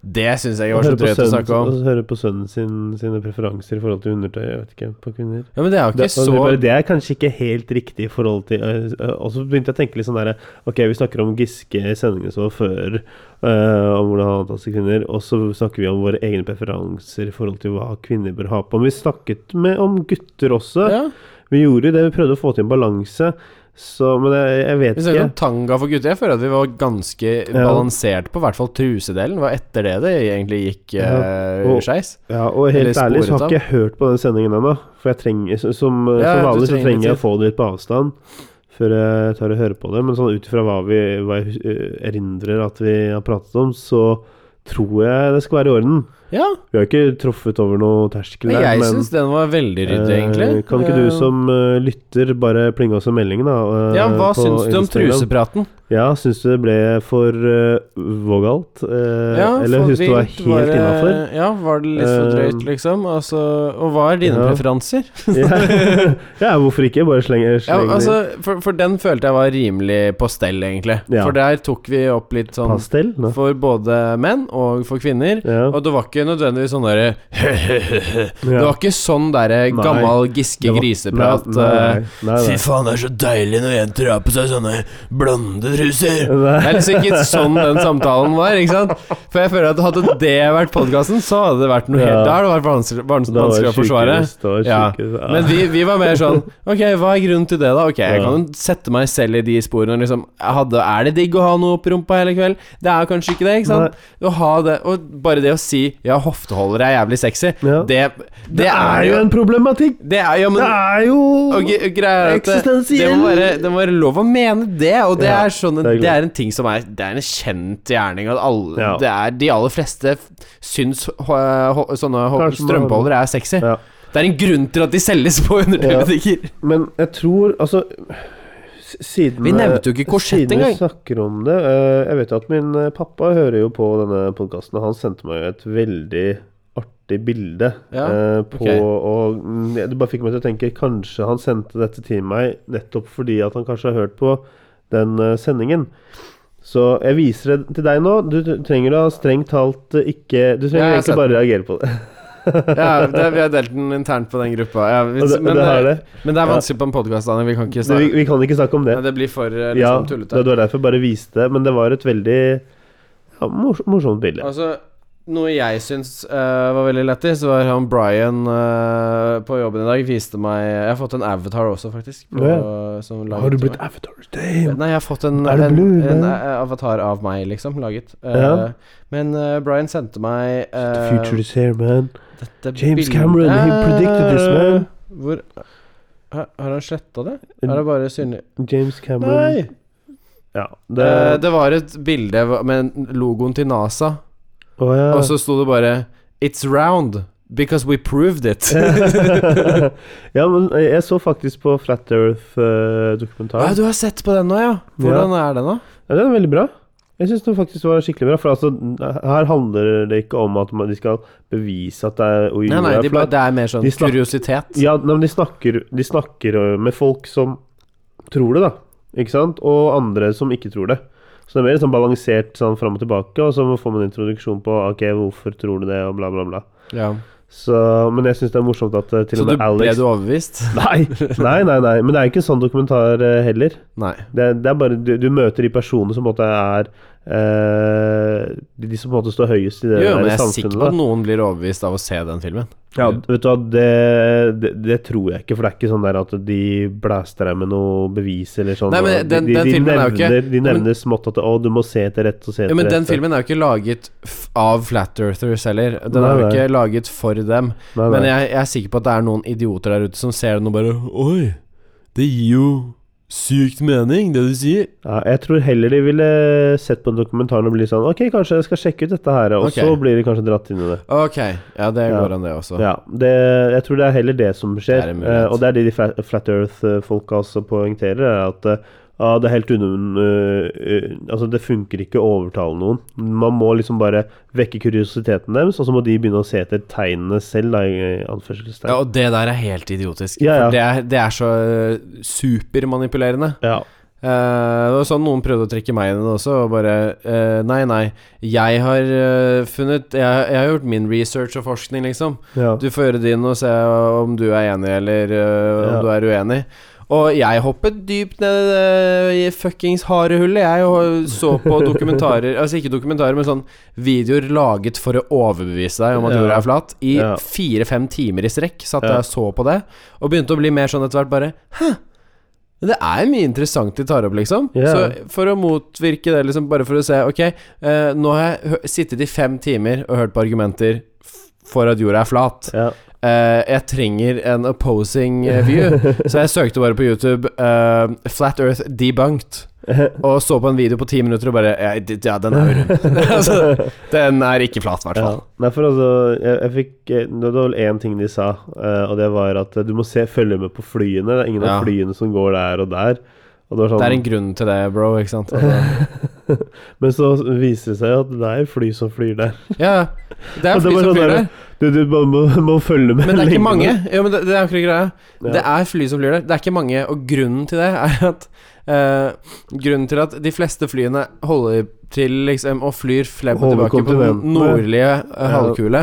Speaker 2: Det syns jeg
Speaker 1: Å
Speaker 2: var så
Speaker 1: høre på
Speaker 2: drøyt å
Speaker 1: sønnen-
Speaker 2: snakke om.
Speaker 1: å høre på sønnen sin, sine preferanser i forhold til undertøy, jeg vet ikke, på kvinner.
Speaker 2: Ja, men det er jo ikke
Speaker 1: Det, og det, er
Speaker 2: så
Speaker 1: bare, det er kanskje ikke helt riktig i forhold til øh, øh, Og så begynte jeg å tenke litt sånn derre Ok, vi snakker om Giske i sendingen som var før, øh, om hvordan han antastet kvinner, og så snakker vi om våre egne preferanser i forhold til hva kvinner bør ha på. Men vi snakket med, om gutter også.
Speaker 2: ja.
Speaker 1: Vi gjorde det, vi prøvde å få til en balanse, så Men jeg, jeg vet
Speaker 2: Vi snakket
Speaker 1: ikke.
Speaker 2: om tanga for gutter. Jeg føler at vi var ganske balansert på i hvert fall trusedelen. Det var etter det det egentlig gikk
Speaker 1: Ja.
Speaker 2: eh,
Speaker 1: Og-
Speaker 2: skeis.
Speaker 1: Ja, og helt
Speaker 2: Eller
Speaker 1: ærlig så
Speaker 2: sporet
Speaker 1: har ikke jeg hørt på den sendingen ennå. For jeg trenger, s- som,
Speaker 2: Ja,
Speaker 1: som
Speaker 2: du
Speaker 1: vanlig så
Speaker 2: trenger
Speaker 1: trenger
Speaker 2: tid.
Speaker 1: jeg å få det litt på avstand før jeg tar og hører på det, men sånn ut ifra hva, vi- hva jeg hus- eh, erindrer at vi har pratet om, så tror jeg det skal være i orden.
Speaker 2: Ja,
Speaker 1: Vi har ikke truffet over noe terskel der,
Speaker 2: jeg
Speaker 1: men
Speaker 2: syns den var veldig ryddig,
Speaker 1: eh,
Speaker 2: egentlig.
Speaker 1: kan ikke du
Speaker 2: Eh,
Speaker 1: som eh, lytter bare plinge oss en melding, da? eh,
Speaker 2: Ja, hva
Speaker 1: på
Speaker 2: syns du om
Speaker 1: Instagram?
Speaker 2: trusepraten?
Speaker 1: Ja, syns du det ble for eh, vågalt? eh,
Speaker 2: Ja,
Speaker 1: eller
Speaker 2: for
Speaker 1: syns du det var
Speaker 2: vilt, var
Speaker 1: helt
Speaker 2: det-
Speaker 1: innafor?
Speaker 2: Ja, var det litt for drøyt,
Speaker 1: Eh,
Speaker 2: liksom? Altså, og hva er dine
Speaker 1: ja.
Speaker 2: preferanser?
Speaker 1: ja. ja, hvorfor ikke? Bare sleng,
Speaker 2: Ja,
Speaker 1: sleng
Speaker 2: altså, for, for den følte jeg var rimelig på stell, egentlig.
Speaker 1: Ja.
Speaker 2: For der tok vi opp litt sånn
Speaker 1: pastell. Nå.
Speaker 2: for både menn og for kvinner.
Speaker 1: Ja.
Speaker 2: Og det var ikke nødvendigvis sånn derre Det
Speaker 1: Ja.
Speaker 2: var ikke sånn derre
Speaker 1: Nei.
Speaker 2: gammal Giske
Speaker 1: Det var-
Speaker 2: Griseprat. eh,
Speaker 1: Nei, nei, nei, nei.
Speaker 2: faen, det er så deilig når jenter har på seg sånne blonde truser. Det
Speaker 1: Nei.
Speaker 2: er liksom ikke sånn den samtalen var. ikke sant? For jeg føler at Hadde det vært podkasten, så hadde det vært noe helt
Speaker 1: Ja.
Speaker 2: Da hadde det vært vanskelig,
Speaker 1: Da
Speaker 2: vanskelig,
Speaker 1: var det
Speaker 2: vanskelig å forsvare.
Speaker 1: sykehus, da var Ah. det
Speaker 2: Ja,
Speaker 1: sykehus. Ja.
Speaker 2: Men vi, vi var mer sånn Ok, hva er grunnen til det, da? Ok, Jeg
Speaker 1: Ja.
Speaker 2: kan jo sette meg selv i de sporene. Liksom, jeg hadde, er det digg å ha noe opp i rumpa hele kveld? Det er kanskje ikke det. ikke sant? Å ha det, Og bare det å si 'ja, hofteholder er jævlig sexy',
Speaker 1: Ja.
Speaker 2: det, det,
Speaker 1: Det er jo en problematikk!
Speaker 2: Det er, ja, men,
Speaker 1: Det er jo
Speaker 2: og gre- greia er at det, det,
Speaker 1: eksistensiell.
Speaker 2: må være, det må være lov å mene det, og det,
Speaker 1: Ja,
Speaker 2: er, sånn,
Speaker 1: det er
Speaker 2: det,
Speaker 1: klart.
Speaker 2: er en ting som er Det er en kjent gjerning. At alle,
Speaker 1: Ja.
Speaker 2: det er, de aller fleste f- syns hå- hå- sånne hå-
Speaker 1: Kanskje man-
Speaker 2: strømpeholdere er sexy.
Speaker 1: Ja.
Speaker 2: Det er en grunn til at de selges på underbutikker.
Speaker 1: Men jeg tror, altså s- siden
Speaker 2: Vi nevnte jo ikke korsett
Speaker 1: siden
Speaker 2: engang.
Speaker 1: vi snakker om det eh, Jeg vet jo at min eh, pappa hører jo på denne podkasten, og han sendte meg jo et veldig artig bilde
Speaker 2: Ja,
Speaker 1: eh, på
Speaker 2: ok.
Speaker 1: Og mm, det bare fikk meg til å tenke Kanskje han sendte dette til meg nettopp fordi at han kanskje har hørt på den eh, sendingen. Så jeg viser det til deg nå. Du t- trenger da strengt talt eh, ikke Du
Speaker 2: Ja, jeg
Speaker 1: trenger
Speaker 2: har sett
Speaker 1: egentlig bare reagere på det.
Speaker 2: Ja, det, vi har delt den internt på den gruppa. Ja, vi,
Speaker 1: Og det,
Speaker 2: men, eh,
Speaker 1: det
Speaker 2: det
Speaker 1: er det.
Speaker 2: men det er vanskelig på en podkast, Daniel. Vi kan ikke
Speaker 1: Vi,
Speaker 2: snakke
Speaker 1: vi kan ikke snakke om det.
Speaker 2: Nei, Det blir for eh,
Speaker 1: Ja,
Speaker 2: liksom,
Speaker 1: det
Speaker 2: tullete.
Speaker 1: var derfor jeg bare viste det, men det var et veldig ja, mors morsomt bilde.
Speaker 2: Altså, noe jeg syns eh, var veldig lættis, var han Brian eh, på jobben i dag viste meg Jeg har fått en avatar også, faktisk. På, som laget
Speaker 1: Har du
Speaker 2: til
Speaker 1: blitt
Speaker 2: meg.
Speaker 1: avatar? Damn!
Speaker 2: Nei, jeg har fått en,
Speaker 1: Er du
Speaker 2: en,
Speaker 1: blue,
Speaker 2: en,
Speaker 1: eller?
Speaker 2: eh, avatar av meg, liksom, laget. Eh,
Speaker 1: Ja.
Speaker 2: Men eh, Brian sendte meg
Speaker 1: The
Speaker 2: eh,
Speaker 1: future is here, man.
Speaker 2: dette Eh,
Speaker 1: James Cameron, he predicted this, man.
Speaker 2: Hvor Hæ, Har han sletta det? Er det bare synlig
Speaker 1: James Cameron
Speaker 2: Nei!
Speaker 1: Ja,
Speaker 2: Det,
Speaker 1: det
Speaker 2: det var et bilde med logoen til NASA.
Speaker 1: Å ja.
Speaker 2: Og så sto det bare It's round because we proved it.
Speaker 1: ja, men jeg så faktisk på Flat
Speaker 2: Ja,
Speaker 1: Earth-dokumentaren.
Speaker 2: Ah, du har sett på den nå, ja. Hvordan er den, da?
Speaker 1: ja, den er veldig bra. Jeg syns den faktisk var skikkelig bra. For altså, her handler det ikke om at man- de skal bevise at det er og
Speaker 2: Nei,
Speaker 1: jorda
Speaker 2: nei,
Speaker 1: er
Speaker 2: de bare,
Speaker 1: flat.
Speaker 2: det er mer sånn
Speaker 1: De snakker-
Speaker 2: kuriositet.
Speaker 1: Ja, nei, men de snakker, de snakker ø, med folk som tror det, da. Ikke sant? Og andre som ikke tror det. Så det er mer sånn balansert sånn fram og tilbake, og så får man en introduksjon på OK, hvorfor tror du det, og bla, bla, bla.
Speaker 2: Ja.
Speaker 1: Så, men jeg syns det er morsomt at ø, til
Speaker 2: Så
Speaker 1: og
Speaker 2: du,
Speaker 1: med
Speaker 2: ble
Speaker 1: Alex
Speaker 2: du overbevist?
Speaker 1: Nei, nei, nei, nei. Men det er ikke en sånn dokumentar ø, heller.
Speaker 2: Nei.
Speaker 1: Det, er- det er bare du, du møter de personene som på en måte er ø, de, de som på en måte står høyest i det
Speaker 2: Jo,
Speaker 1: der
Speaker 2: men jeg er
Speaker 1: samfunnet.
Speaker 2: sikker
Speaker 1: da.
Speaker 2: på at noen blir overbevist av å se den filmen.
Speaker 1: Ja, vet du hva, det, det, det tror jeg ikke, for det er ikke sånn der at de blæster deg med noe bevis eller sånn.
Speaker 2: Nei, men
Speaker 1: og
Speaker 2: den-
Speaker 1: de, de,
Speaker 2: den
Speaker 1: de,
Speaker 2: filmen er
Speaker 1: nevner,
Speaker 2: jo ikke-
Speaker 1: de
Speaker 2: Ja, men-
Speaker 1: nevner smått at å, du må se til rett og se
Speaker 2: Ja,
Speaker 1: til
Speaker 2: men
Speaker 1: rett.
Speaker 2: den filmen er jo ikke laget f av flat-earthers heller. Den
Speaker 1: Nei,
Speaker 2: er jo
Speaker 1: nei.
Speaker 2: ikke laget for dem.
Speaker 1: Nei, nei.
Speaker 2: Men jeg, jeg er sikker på at det er noen idioter der ute som ser den og bare Oi, det gir jo sykt mening, det du sier.
Speaker 1: ja, jeg tror heller de ville sett på en dokumentar og bli sånn Ok, kanskje jeg skal sjekke ut dette her, og
Speaker 2: Ok.
Speaker 1: så blir de kanskje dratt inn i det.
Speaker 2: Ok, ja, det
Speaker 1: Ja.
Speaker 2: går an, det også.
Speaker 1: Ja, det, jeg tror det er heller det som
Speaker 2: Det er
Speaker 1: skjer.
Speaker 2: en mulighet.
Speaker 1: eh, og det er det de fla- Flat Earth-folka også poengterer, er at eh, ja, det er helt unum... altså, det funker ikke å overtale noen. Man må liksom bare vekke kuriositeten deres, og så må de begynne å se etter tegnene selv, da, i i
Speaker 2: Ja,
Speaker 1: anførselstegn.
Speaker 2: og det der er helt idiotisk. For
Speaker 1: Ja, ja.
Speaker 2: det er, det er så eh, supermanipulerende.
Speaker 1: Ja.
Speaker 2: Eh, det var sånn noen prøvde å trekke meg inn i det også, og bare eh, Nei, nei, jeg har eh, funnet jeg, jeg har gjort min research og forskning, liksom.
Speaker 1: Ja.
Speaker 2: Du får gjøre din og se om du er enig, eller eh, om
Speaker 1: Ja.
Speaker 2: du er uenig. Og jeg hoppet dypt ned i det i fuckings harehullet, jeg, og så på dokumentarer Altså ikke dokumentarer, men sånn videoer laget for å overbevise deg om at
Speaker 1: Ja.
Speaker 2: jorda er flat. I
Speaker 1: Ja.
Speaker 2: fire-fem timer i strekk satt
Speaker 1: Ja.
Speaker 2: jeg og så på det, og begynte å bli mer sånn etter hvert bare Hæ? Det er mye interessant de tar opp, liksom.
Speaker 1: Ja.
Speaker 2: Så for å motvirke det, liksom, bare for å se Ok, eh, nå har jeg hø- sittet i fem timer og hørt på argumenter f- for at jorda er flat.
Speaker 1: Ja.
Speaker 2: eh, jeg trenger en opposing eh, view. Så jeg søkte bare på YouTube eh, 'Flat Earth Debunked' og så på en video på ti minutter og bare Ja, d- ja den er jo rund. altså, den er ikke flat, i hvert
Speaker 1: Ja.
Speaker 2: fall.
Speaker 1: Nei, for altså, jeg, jeg fikk eh, Det var vel én ting de sa, eh, og det var at eh, du må se, følge med på flyene. Det er ingen
Speaker 2: Ja.
Speaker 1: av flyene som går der og der. Og det var sånn,
Speaker 2: Det er en grunn til det, bro, ikke sant? Altså,
Speaker 1: Men så viser det seg at det er fly som flyr der.
Speaker 2: ja, det er
Speaker 1: Og det
Speaker 2: fly
Speaker 1: var
Speaker 2: som
Speaker 1: sånn
Speaker 2: flyr
Speaker 1: der-
Speaker 2: der.
Speaker 1: Du, du må, må, må følge med.
Speaker 2: Men det er ikke
Speaker 1: lenge.
Speaker 2: mange. Ja, men det, det er akkurat greia.
Speaker 1: Ja.
Speaker 2: Det er fly som flyr der. Det er ikke mange, og grunnen til det er at eh, Grunnen til at de fleste flyene holder til liksom og flyr frem og
Speaker 1: Holder
Speaker 2: tilbake på den
Speaker 1: kontinentene.
Speaker 2: nordlige eh, halvkule,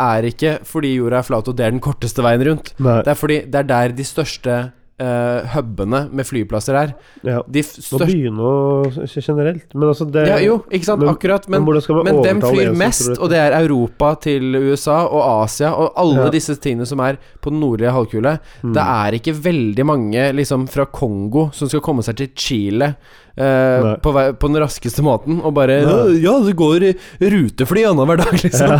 Speaker 2: er ikke fordi jorda er flat og det er den korteste veien rundt.
Speaker 1: Nei.
Speaker 2: Det er fordi det er der de største uh, hubene med flyplasser er.
Speaker 1: Ja.
Speaker 2: De f-
Speaker 1: Må
Speaker 2: største
Speaker 1: begynne å generelt. Men altså, det
Speaker 2: ja, Jo, ikke sant,
Speaker 1: men-
Speaker 2: akkurat,
Speaker 1: men
Speaker 2: men
Speaker 1: hvordan skal man
Speaker 2: men dem
Speaker 1: overtale
Speaker 2: flyr
Speaker 1: en som
Speaker 2: mest,
Speaker 1: tror at-
Speaker 2: og det er Europa til USA og Asia og alle
Speaker 1: Ja. Mm.
Speaker 2: disse tingene som er på den nordlige halvkule. Det er ikke veldig mange liksom fra Kongo som skal komme seg til Chile eh,
Speaker 1: Nei.
Speaker 2: på, vei, på den raskeste måten og bare
Speaker 1: Nei.
Speaker 2: Ja, det går rutefly annenhver dag, liksom.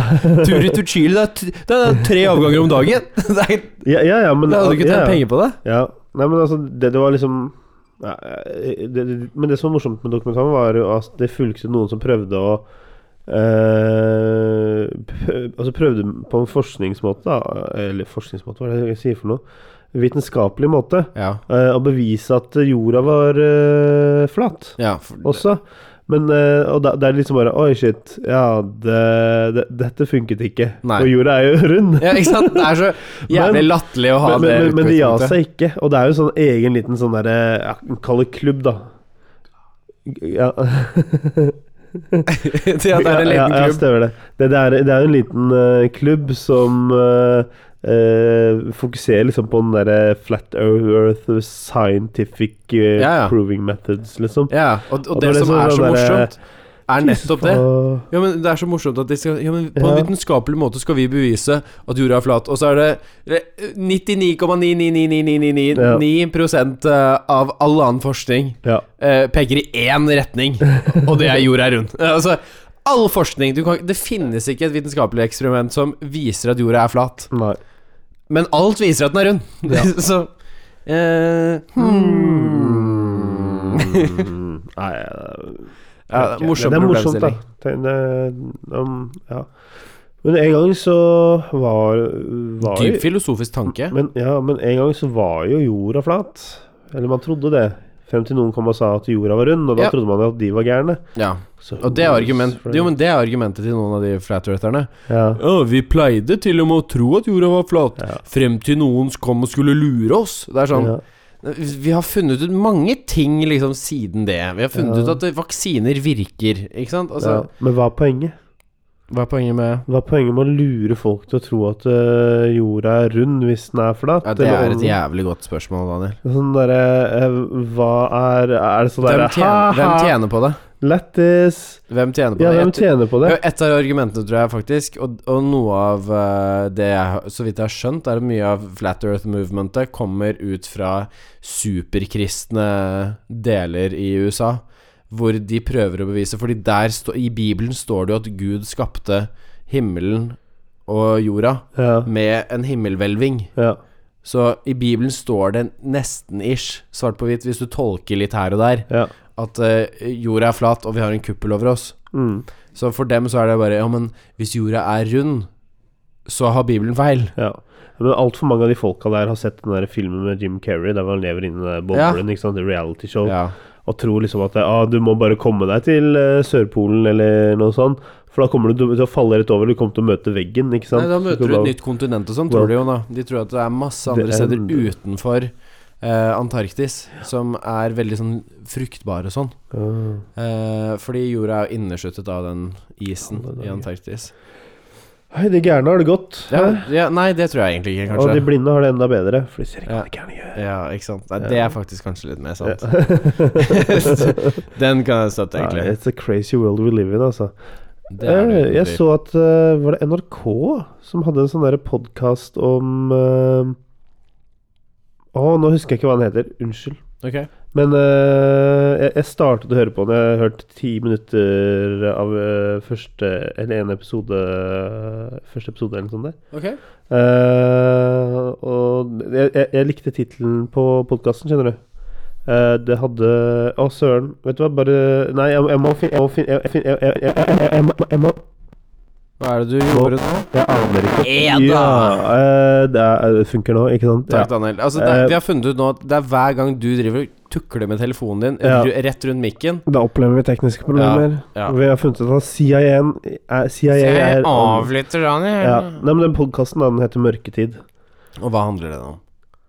Speaker 2: Tur ut til Chile, det er, t det er tre avganger om dagen. det er,
Speaker 1: Ja, ja, ja, men
Speaker 2: da hadde du ikke
Speaker 1: ja,
Speaker 2: tjent
Speaker 1: ja.
Speaker 2: penger på det.
Speaker 1: Ja, nei, men altså Det, det var liksom ja, eh, det, det, Men det som var morsomt med dokumentaren, var jo at det fulgte noen som prøvde å eh, prøv- Altså prøvde på en forskningsmåte, da, eller forskningsmåte, hva er det jeg sier for noe? Vitenskapelig måte.
Speaker 2: Ja.
Speaker 1: eh, å bevise at jorda var eh, flat
Speaker 2: ja for,
Speaker 1: også. Men eh, Og da, det er liksom bare Oi, shit. Ja, det, det, dette funket ikke.
Speaker 2: Nei.
Speaker 1: Og jorda er jo rund.
Speaker 2: ja, ikke sant? Det er så jævlig
Speaker 1: Men-
Speaker 2: latterlig å ha
Speaker 1: men, men,
Speaker 2: det
Speaker 1: men, men det ja
Speaker 2: utgangspunktet.
Speaker 1: seg ikke. Og det er jo sånn egen liten sånn derre ja, Kall det klubb, da. Ja,
Speaker 2: Til at det er en
Speaker 1: ja,
Speaker 2: liten
Speaker 1: ja,
Speaker 2: klubb.
Speaker 1: stemmer det. Det, det, er, det er jo en liten eh, klubb som eh, eh, fokuserer liksom på den derre flat earth scientific eh,
Speaker 2: Ja, ja.
Speaker 1: proving methods, liksom.
Speaker 2: Ja, og, og
Speaker 1: Og
Speaker 2: det,
Speaker 1: det er
Speaker 2: som
Speaker 1: sånn
Speaker 2: er så
Speaker 1: der-
Speaker 2: morsomt, er nettopp det.
Speaker 1: Og-
Speaker 2: Ja, men Det er så morsomt at de skal Ja, men På en
Speaker 1: Ja.
Speaker 2: vitenskapelig måte skal vi bevise at jorda er flat, og så er det eller, 99,99999 eh, av all annen forskning
Speaker 1: Ja.
Speaker 2: eh, peker i én retning, og det er jorda er rund. Eh, Altså, all forskning du kan, Det finnes ikke et vitenskapelig eksperiment som viser at jorda er flat,
Speaker 1: Nei.
Speaker 2: men alt viser at den er rund. så eh, hmm.
Speaker 1: Mm. Nei eh,
Speaker 2: ja, det er morsom
Speaker 1: det er morsomt, da.
Speaker 2: problemstilling.
Speaker 1: Det, det, um, ja. Men en gang så var, var
Speaker 2: Dyp filosofisk tanke.
Speaker 1: Men, ja, men en gang så var jo jorda flat. Eller man trodde det. Frem til noen kom og sa at jorda var rund, og da
Speaker 2: Ja.
Speaker 1: trodde man jo at de var gærne.
Speaker 2: Ja.
Speaker 1: Så-
Speaker 2: Og det er, argument, jo, men det er argumentet til noen av de flat-eartherne.
Speaker 1: ja.
Speaker 2: Ja, vi pleide til og med å tro at jorda var flat,
Speaker 1: Ja.
Speaker 2: frem til noen kom og skulle lure oss. Det er sånn
Speaker 1: ja.
Speaker 2: Vi har funnet ut mange ting liksom siden det. Vi har funnet
Speaker 1: Ja.
Speaker 2: ut at eh, vaksiner virker, ikke sant? Altså,
Speaker 1: ja. Men hva er poenget?
Speaker 2: Hva er poenget med
Speaker 1: Hva er poenget med å lure folk til å tro at øh, jorda er rund hvis den er flat?
Speaker 2: ja, Det
Speaker 1: Eller
Speaker 2: er et
Speaker 1: om-
Speaker 2: jævlig godt spørsmål, Daniel.
Speaker 1: Sånn derre øh, Hva er Er det sånn
Speaker 2: Hvem
Speaker 1: derre
Speaker 2: tjener, hvem tjener på det?
Speaker 1: Lættis!
Speaker 2: Hvem tjener på
Speaker 1: Ja,
Speaker 2: det?
Speaker 1: hvem
Speaker 2: Jeg tr-
Speaker 1: tjener på det?
Speaker 2: Ja, Et av argumentene, tror jeg faktisk, og, og noe av eh, det jeg har- så vidt jeg har skjønt, er at mye av Flat Earth-movementet kommer ut fra superkristne deler i USA, hvor de prøver å bevise Fordi der stå, i Bibelen står det jo at Gud skapte himmelen og jorda
Speaker 1: Ja.
Speaker 2: med en himmelhvelving.
Speaker 1: ja.
Speaker 2: Så i Bibelen står det nesten-ish, svart på hvitt, hvis du tolker litt her og der,
Speaker 1: ja.
Speaker 2: at eh, jorda er flat, og vi har en kuppel over oss.
Speaker 1: Mm.
Speaker 2: Så for dem så er det bare Ja, men hvis jorda er rund, så har Bibelen feil.
Speaker 1: Ja. Men altfor mange av de folka der har sett den der filmen med Jim Carrey der han lever inni den boblen, ikke sant, det reality show,
Speaker 2: Ja.
Speaker 1: og tror liksom at ah, du må bare komme deg til eh, Sørpolen eller noe sånt, for da kommer du til å- til å falle rett over, du kommer til å møte veggen, ikke sant.
Speaker 2: Nei, da møter du
Speaker 1: kommer
Speaker 2: et
Speaker 1: bare-
Speaker 2: nytt kontinent og sånn, tror de jo da. De tror at det er masse andre
Speaker 1: Det er-
Speaker 2: steder utenfor eh, Antarktis som er veldig sånn fruktbare og sånn.
Speaker 1: Ah.
Speaker 2: Eh, fordi jorda er jo innesluttet av den isen i Antarktis.
Speaker 1: Hei, de gærne har det godt.
Speaker 2: Ja,
Speaker 1: hæ?
Speaker 2: ja, nei, det tror jeg egentlig ikke,
Speaker 1: Og de
Speaker 2: kanskje.
Speaker 1: blinde har det enda bedre, for de ser ikke
Speaker 2: Ja.
Speaker 1: hva de gærne gjør.
Speaker 2: Ja, ikke sant. Nei, det er faktisk kanskje litt mer sant. den kan jeg støtte,
Speaker 1: Nei,
Speaker 2: egentlig.
Speaker 1: it's a crazy world we live in, altså.
Speaker 2: Det er det
Speaker 1: Eh,
Speaker 2: uten
Speaker 1: jeg
Speaker 2: tvil.
Speaker 1: så at eh, Var det NRK som hadde en sånn derre podkast om eh, Å, nå husker jeg ikke hva den heter. Unnskyld.
Speaker 2: Ok.
Speaker 1: Men eh, jeg, jeg startet å høre på den. Jeg har hørt ti minutter av eh, første Eller en episode eh, Første episode eller noe sånt der.
Speaker 2: Ok.
Speaker 1: Eh, og jeg, jeg, jeg likte tittelen på podkasten, skjønner du. Eh, det hadde Å, søren. Vet du hva, bare Nei, jeg, jeg må finne Jeg må finne jeg, jeg, jeg, jeg, jeg, jeg, jeg, må- jeg må
Speaker 2: Hva er det du gjorde nå?
Speaker 1: Jeg aner ikke.
Speaker 2: Ja da.
Speaker 1: Ja, eh, det, er, det funker nå, ikke sant?
Speaker 2: Takk,
Speaker 1: ja.
Speaker 2: Daniel. Altså, det,
Speaker 1: Eh,
Speaker 2: vi har funnet ut nå at det er hver gang du driver og tukler med telefonen din
Speaker 1: Ja.
Speaker 2: ru- rett rundt mikken
Speaker 1: Da opplever vi tekniske problemer.
Speaker 2: Ja, ja.
Speaker 1: Vi har funnet ut at CIA, er, CIA er
Speaker 2: Daniel.
Speaker 1: ja. Nei, men Den podkasten heter Mørketid.
Speaker 2: Og hva handler det om?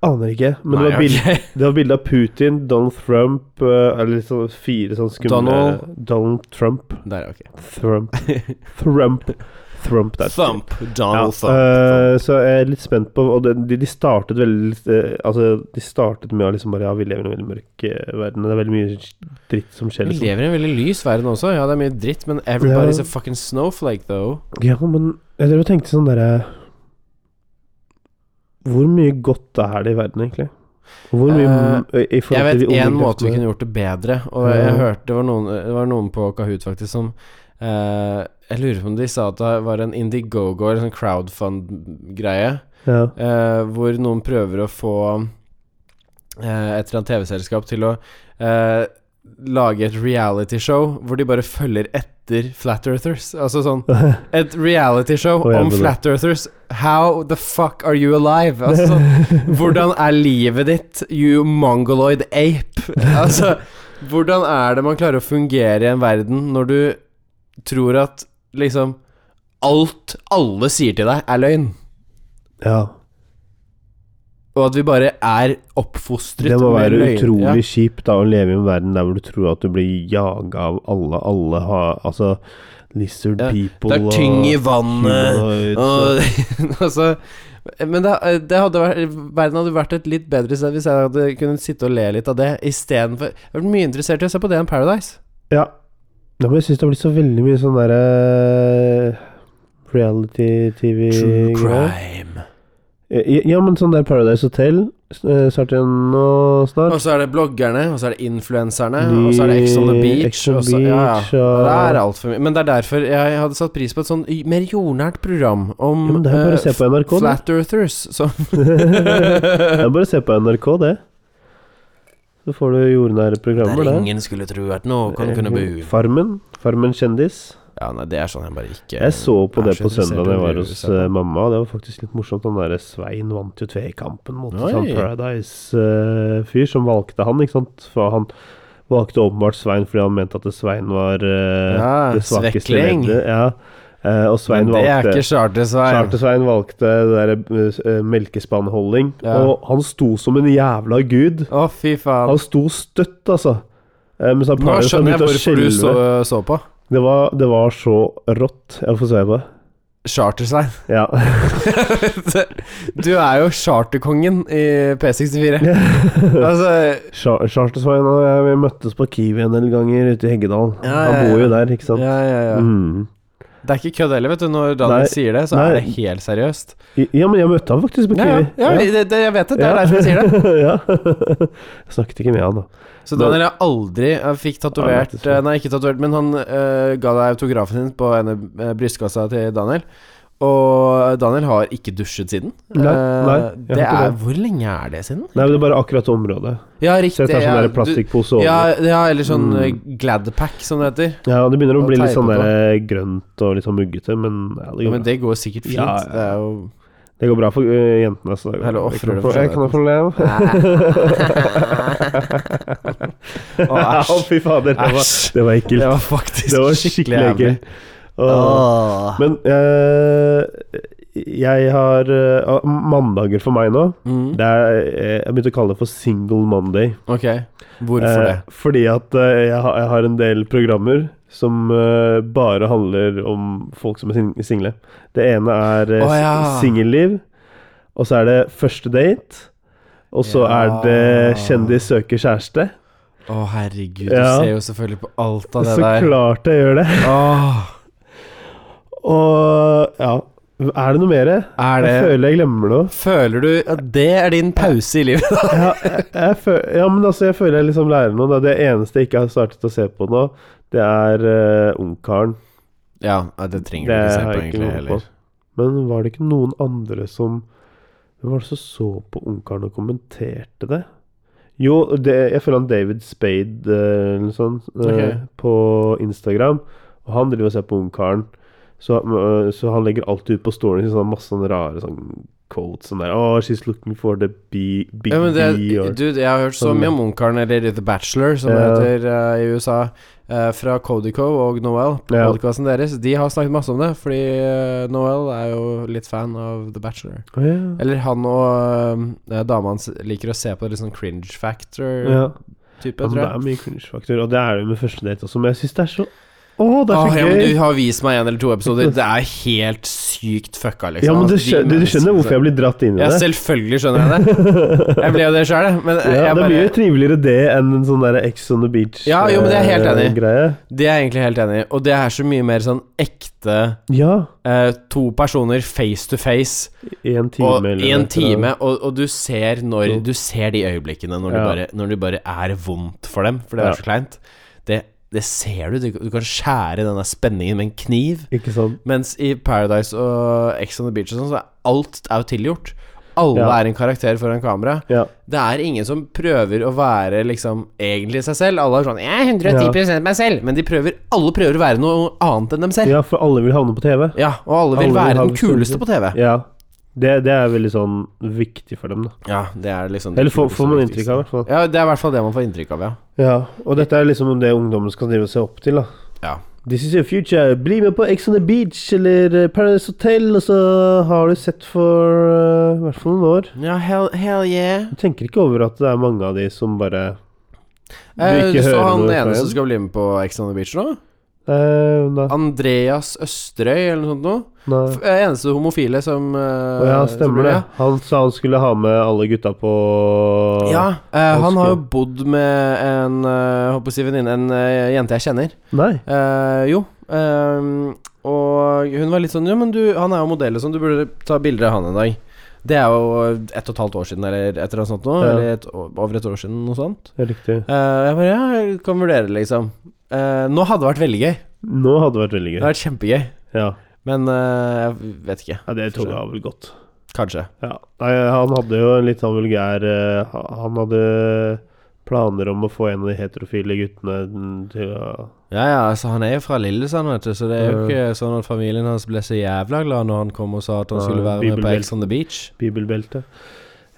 Speaker 1: Aner ikke. Men det,
Speaker 2: Nei,
Speaker 1: var bild,
Speaker 2: ok.
Speaker 1: det var bilde av Putin, Donald Trump eh, Eller sånn fire sånn skumle
Speaker 2: Donald.
Speaker 1: Donald Trump.
Speaker 2: Der, ok.
Speaker 1: Trump. Trump. Trump, that's it.
Speaker 2: Thump. Donald
Speaker 1: Ja,
Speaker 2: Thump.
Speaker 1: eh, så jeg er litt spent på Og det- de, de startet veldig eh, Altså, de startet med å liksom bare Ja, vi lever i en veldig mørk eh, verden. Det er veldig mye dritt som skjer.
Speaker 2: Vi
Speaker 1: Liksom.
Speaker 2: lever i en veldig lys verden også. Ja, det er mye dritt, men everybody's
Speaker 1: Ja.
Speaker 2: a fucking snowflake, though.
Speaker 1: Ja, men jeg drev og tenkte sånn derre Hvor mye godt er det i verden, egentlig? Og Hvor mye
Speaker 2: Eh,
Speaker 1: i forhold
Speaker 2: Jeg
Speaker 1: til
Speaker 2: vet
Speaker 1: de
Speaker 2: én
Speaker 1: onde
Speaker 2: måte vi
Speaker 1: kreftene?
Speaker 2: kunne gjort det bedre, og
Speaker 1: Ja.
Speaker 2: jeg hørte det var noen, det var noen på Kahoot faktisk som eh, Jeg lurer på om de sa at det var en Indiegogo, eller sånn crowdfund-greie.
Speaker 1: ja.
Speaker 2: eh, hvor noen prøver å få eh, et eller annet TV-selskap til å eh, lage et realityshow hvor de bare følger etter Flat Earthers. Altså sånn Et realityshow
Speaker 1: Å, jeg
Speaker 2: om
Speaker 1: mener.
Speaker 2: Flat Earthers. How the fuck are you alive? Altså sånn Hvordan er livet ditt, you mongoloid ape? Altså, hvordan er det man klarer å fungere i en verden når du tror at liksom alt alle sier til deg, er løgn?
Speaker 1: ja.
Speaker 2: Og at vi bare er oppfostret
Speaker 1: Det må
Speaker 2: med
Speaker 1: være
Speaker 2: løgn.
Speaker 1: utrolig
Speaker 2: Ja.
Speaker 1: kjipt da å leve i en verden der hvor du tror at du blir jaga av alle. Alle har Altså Lizard
Speaker 2: Ja,
Speaker 1: people
Speaker 2: Det er tyng i vannet
Speaker 1: humanoids
Speaker 2: og,
Speaker 1: og-
Speaker 2: altså, Men det, det hadde vært, verden hadde vært et litt bedre sted hvis jeg hadde kunnet sitte og le litt av det istedenfor Jeg hadde vært mye interessert i å se på det enn Paradise.
Speaker 1: Ja. Nei, men jeg syns det har blitt så veldig mye sånn eh, derre reality-TV-greier.
Speaker 2: crime.
Speaker 1: Ja, men sånn der Paradise Hotel eh, starter igjen nå snart.
Speaker 2: Og så er det bloggerne, og så er det influenserne, og så er det Ex on the
Speaker 1: De-
Speaker 2: Beach.
Speaker 1: Ex on
Speaker 2: og så, ja, ja.
Speaker 1: Beach, og-
Speaker 2: Det er alt for mye. Men det er derfor jeg hadde satt pris på et sånn y- mer jordnært program om
Speaker 1: Ja, men det er jo bare å
Speaker 2: eh,
Speaker 1: se på NRK, da.
Speaker 2: Flat Earthers. Som
Speaker 1: Det er bare å se på NRK, det. Så får du jordnære
Speaker 2: Der
Speaker 1: programmer, da.
Speaker 2: ingen skulle tro at noen kunne bo.
Speaker 1: Eh, Farmen. Farmen kjendis.
Speaker 2: Ja, nei, det er sånn jeg bare ikke
Speaker 1: Jeg så på
Speaker 2: er
Speaker 1: det
Speaker 2: så
Speaker 1: på
Speaker 2: interessert
Speaker 1: søndag da
Speaker 2: i
Speaker 1: jeg
Speaker 2: å
Speaker 1: var
Speaker 2: bli
Speaker 1: hos
Speaker 2: sett på.
Speaker 1: eh, mamma. og Det var faktisk litt morsomt. Han derre Svein vant jo tvekampen mot en sånn
Speaker 2: Oi.
Speaker 1: Paradise-fyr som valgte han, ikke sant. For han valgte åpenbart Svein fordi han mente at Svein var eh,
Speaker 2: Ja,
Speaker 1: det svakeste
Speaker 2: svekling.
Speaker 1: leddet. Ja. Eh, og Svein
Speaker 2: Men det er
Speaker 1: valgte
Speaker 2: ikke charter-Svein.
Speaker 1: Charter-Svein valgte det derre eh, melkespannholding.
Speaker 2: Ja.
Speaker 1: Og han sto som en jævla gud.
Speaker 2: Å, fy faen.
Speaker 1: Han sto støtt, altså. Eh, mens han
Speaker 2: Nå
Speaker 1: Paradise han
Speaker 2: skjønner jeg
Speaker 1: begynte å
Speaker 2: hvorfor du så, eh,
Speaker 1: skjelve.
Speaker 2: så på.
Speaker 1: Det var, det var så rått. Jeg får se på det.
Speaker 2: Charter-Svein.
Speaker 1: Ja.
Speaker 2: du er jo charterkongen i P64. altså
Speaker 1: Char- Charter-Svein og jeg vi møttes på Kiwi en del ganger ute i Heggedal.
Speaker 2: Ja, ja,
Speaker 1: Han bor
Speaker 2: ja.
Speaker 1: jo der,
Speaker 2: Ja,
Speaker 1: ikke sant.
Speaker 2: ja, ja.
Speaker 1: Mm.
Speaker 2: Det er ikke kødd heller, vet du. Når Daniel
Speaker 1: Nei,
Speaker 2: sier det, så
Speaker 1: nei.
Speaker 2: er det helt seriøst.
Speaker 1: I- Ja, men jeg møtte han faktisk på
Speaker 2: Ja, ja,
Speaker 1: Kiwi.
Speaker 2: ja,
Speaker 1: Ja.
Speaker 2: det, det, jeg vet det. Det er derfor jeg sier det.
Speaker 1: ja. Jeg snakket ikke med han, da.
Speaker 2: Så Daniel har aldri jeg fikk
Speaker 1: Ja,
Speaker 2: tatovert
Speaker 1: det er
Speaker 2: eh, Nei, ikke tatovert, men han eh, ga deg autografen din på ene eh, brystkassa til Daniel. Og Daniel har ikke dusjet siden.
Speaker 1: Nei,
Speaker 2: Eh,
Speaker 1: nei, jeg
Speaker 2: det
Speaker 1: har ikke
Speaker 2: er,
Speaker 1: det.
Speaker 2: Hvor lenge er det siden?
Speaker 1: Nei, men det er bare akkurat området.
Speaker 2: Ja, riktig.
Speaker 1: Så jeg tar sånn
Speaker 2: ja,
Speaker 1: der plastikkpose
Speaker 2: du,
Speaker 1: over.
Speaker 2: ja,
Speaker 1: Ja,
Speaker 2: ja, eller sånn
Speaker 1: Mm.
Speaker 2: eh, Gladpack, som det heter.
Speaker 1: det begynner å
Speaker 2: Og
Speaker 1: bli litt
Speaker 2: teipe
Speaker 1: sånn
Speaker 2: på.
Speaker 1: der grønt og litt sånn muggete, men ja,
Speaker 2: Ja,
Speaker 1: det går,
Speaker 2: men
Speaker 1: bra.
Speaker 2: det går sikkert fint.
Speaker 1: Ja, ja.
Speaker 2: Det er jo
Speaker 1: det går bra for ø, jentene. Så det går
Speaker 2: Eller
Speaker 1: bra.
Speaker 2: ofrer
Speaker 1: Ikke
Speaker 2: du
Speaker 1: noe pro-
Speaker 2: for
Speaker 1: jeg kan ha problem.
Speaker 2: Å, æsj.
Speaker 1: Å, fy fader. Det var,
Speaker 2: Æsj.
Speaker 1: det var ekkelt.
Speaker 2: Det var faktisk
Speaker 1: Det var skikkelig
Speaker 2: jævlig.
Speaker 1: ekkelt. Åh.
Speaker 2: Åh.
Speaker 1: Men eh, jeg har eh, ah, Mandager for meg nå
Speaker 2: Mm.
Speaker 1: det er, eh, Jeg begynte å kalle det for Single Monday.
Speaker 2: Ok, hvorfor det?
Speaker 1: Eh, fordi at eh, jeg, har, jeg har en del programmer som eh, bare handler om folk som er sing single. Det ene er eh,
Speaker 2: Å, ja.
Speaker 1: singelliv, og så er det første date. Og så er
Speaker 2: Ja.
Speaker 1: det kjendis søker kjæreste.
Speaker 2: Å, herregud,
Speaker 1: Ja.
Speaker 2: du ser jo selvfølgelig på alt av det
Speaker 1: Så
Speaker 2: der.
Speaker 1: klart jeg gjør det.
Speaker 2: Åh.
Speaker 1: Og ja Er det noe mer?
Speaker 2: Er
Speaker 1: Jeg
Speaker 2: det
Speaker 1: føler jeg glemmer noe.
Speaker 2: Føler du at det er din pause i livet?
Speaker 1: Ja, jeg, jeg føl, ja, men altså, jeg føler jeg liksom lærer noe. da. Det eneste jeg ikke har startet å se på nå, det er eh, Ungkaren.
Speaker 2: Ja, nei, det trenger
Speaker 1: Det
Speaker 2: du ikke se
Speaker 1: har
Speaker 2: på
Speaker 1: jeg ikke
Speaker 2: egentlig
Speaker 1: noe
Speaker 2: heller.
Speaker 1: på. Men var det ikke noen andre som Hvem var det som så på Ungkaren og kommenterte det? Jo, det, jeg følger han David Spade eh, eller noe sånt, eh,
Speaker 2: Ok.
Speaker 1: på Instagram. Og han driver og ser på Ungkaren. Så, eh, så han legger alltid ut på storyen sin sånn masse sånne rare sånn quotes sånn der Oh, she's looking for the bee, big
Speaker 2: Ja, men det,
Speaker 1: bee or
Speaker 2: dude, jeg har hørt så
Speaker 1: Sånn.
Speaker 2: mye om onkelen, eller The Bachelor, som
Speaker 1: Ja.
Speaker 2: heter eh, i USA, eh, fra Codico og Noel, på
Speaker 1: Ja.
Speaker 2: podcasten deres. De har snakket masse om det, fordi eh, Noel er jo litt fan av The Bachelor.
Speaker 1: Å, ja.
Speaker 2: Eller han og uh, dama hans liker å se på det litt sånn cringe
Speaker 1: Ja.
Speaker 2: factor-type, tror
Speaker 1: Altså, det
Speaker 2: jeg.
Speaker 1: er mye cringe-faktor, og det er det jo med første date også, men jeg syns det er så Å, det er
Speaker 2: Åh,
Speaker 1: så
Speaker 2: Ah, ja,
Speaker 1: gøy!
Speaker 2: men du har vist meg en eller to episoder. Det er helt sykt fucka, liksom.
Speaker 1: ja, men du
Speaker 2: De
Speaker 1: skjønner, du, du skjønner hvorfor jeg blir dratt inn i
Speaker 2: Ja,
Speaker 1: det?
Speaker 2: selvfølgelig skjønner jeg det. Jeg ble jo det sjøl, men
Speaker 1: Ja,
Speaker 2: jeg
Speaker 1: Det
Speaker 2: bare
Speaker 1: blir jo triveligere det enn en sånn der Ex on the beach
Speaker 2: Ja, jo, men det er jeg helt
Speaker 1: eh,
Speaker 2: enig i.
Speaker 1: greie.
Speaker 2: Det er jeg egentlig helt enig i, og det er så mye mer sånn ekte
Speaker 1: Ja.
Speaker 2: eh, to personer face to face,
Speaker 1: Én time
Speaker 2: og
Speaker 1: eller
Speaker 2: én
Speaker 1: et eller
Speaker 2: time,
Speaker 1: annet.
Speaker 2: og, og du ser når
Speaker 1: Jo.
Speaker 2: Du ser de øyeblikkene når,
Speaker 1: Ja.
Speaker 2: du bare, når du bare er vondt for dem, for det
Speaker 1: Ja.
Speaker 2: er så kleint. Det, det ser du. du. Du kan skjære den der spenningen med en kniv.
Speaker 1: Ikke sant?
Speaker 2: Mens i Paradise og Ex on the Beach og sånn, så er alt er jo tilgjort. Alle
Speaker 1: Ja.
Speaker 2: er en karakter foran kamera.
Speaker 1: Ja.
Speaker 2: Det er ingen som prøver å være liksom egentlig seg selv. Alle er sånn 'Jeg er 110 meg selv', men de prøver, alle prøver å være noe annet enn dem selv. Ja,
Speaker 1: ja, for alle vil havne på TV.
Speaker 2: og alle vil
Speaker 1: Alle vil
Speaker 2: være
Speaker 1: ha
Speaker 2: den kuleste på TV.
Speaker 1: Ja. Det, det er veldig sånn viktig for dem, da.
Speaker 2: Ja, det er liksom det
Speaker 1: Eller får
Speaker 2: kuleste
Speaker 1: får
Speaker 2: og
Speaker 1: man
Speaker 2: viktigste.
Speaker 1: inntrykk av, i hvert fall.
Speaker 2: Ja, det er i hvert fall det man får inntrykk av, ja.
Speaker 1: Ja. Og dette er liksom det ungdommen skal drive og se opp til, da.
Speaker 2: Ja.
Speaker 1: This is your future. Bli med på Ex on the Beach eller eh, Paradise Hotel, og så har du sett for eh, i hvert fall noen år.
Speaker 2: Ja, hell, hell yeah.
Speaker 1: Du tenker ikke over at det er mange av de som bare
Speaker 2: Eh, Du,
Speaker 1: Du ikke
Speaker 2: så
Speaker 1: hører
Speaker 2: han
Speaker 1: noe fra
Speaker 2: ene
Speaker 1: igjen?
Speaker 2: som skal bli med på Ex on the Beach nå?
Speaker 1: eh, Nei.
Speaker 2: Andreas Østerøy, eller noe sånt noe?
Speaker 1: nei.
Speaker 2: F- eh, Eneste homofile som eh,
Speaker 1: Å ja,
Speaker 2: som
Speaker 1: stemmer
Speaker 2: ble-
Speaker 1: det. Han sa han skulle ha med alle gutta på
Speaker 2: Ja, eh, han har jo
Speaker 1: Elsker.
Speaker 2: bodd med en eh, Håper å si venninne En eh, jente jeg kjenner.
Speaker 1: Nei.
Speaker 2: Eh, jo. ehm, og hun var litt sånn Ja, men du, han er jo modell, og sånn, du burde ta bilder av han en dag. Det er jo ett og et halvt år siden, eller et eller annet sånt nå.
Speaker 1: Ja.
Speaker 2: Eller et, å- over et år siden, noe sånt.
Speaker 1: Det er riktig.
Speaker 2: Eh, jeg bare Ja, jeg kan vurdere det, liksom. Eh, nå hadde det vært veldig gøy.
Speaker 1: Nå hadde det vært veldig
Speaker 2: Det
Speaker 1: gøy.
Speaker 2: hadde vært kjempegøy.
Speaker 1: Ja,
Speaker 2: Men eh, jeg vet ikke.
Speaker 1: ja det toget har vel gått.
Speaker 2: Kanskje.
Speaker 1: Ja. Nei, han hadde jo en litt sånn vulgær eh, ha- Han hadde planer om å få en av de heterofile guttene til å
Speaker 2: Ja, ja, altså han er jo fra Lillesand, vet du, så det er jo
Speaker 1: Mm.
Speaker 2: ikke sånn at familien hans ble så jævla glad når han kom og sa at han
Speaker 1: Nei,
Speaker 2: skulle være med på
Speaker 1: bibelbelt.
Speaker 2: Ex on the Beach.
Speaker 1: bibelbelte.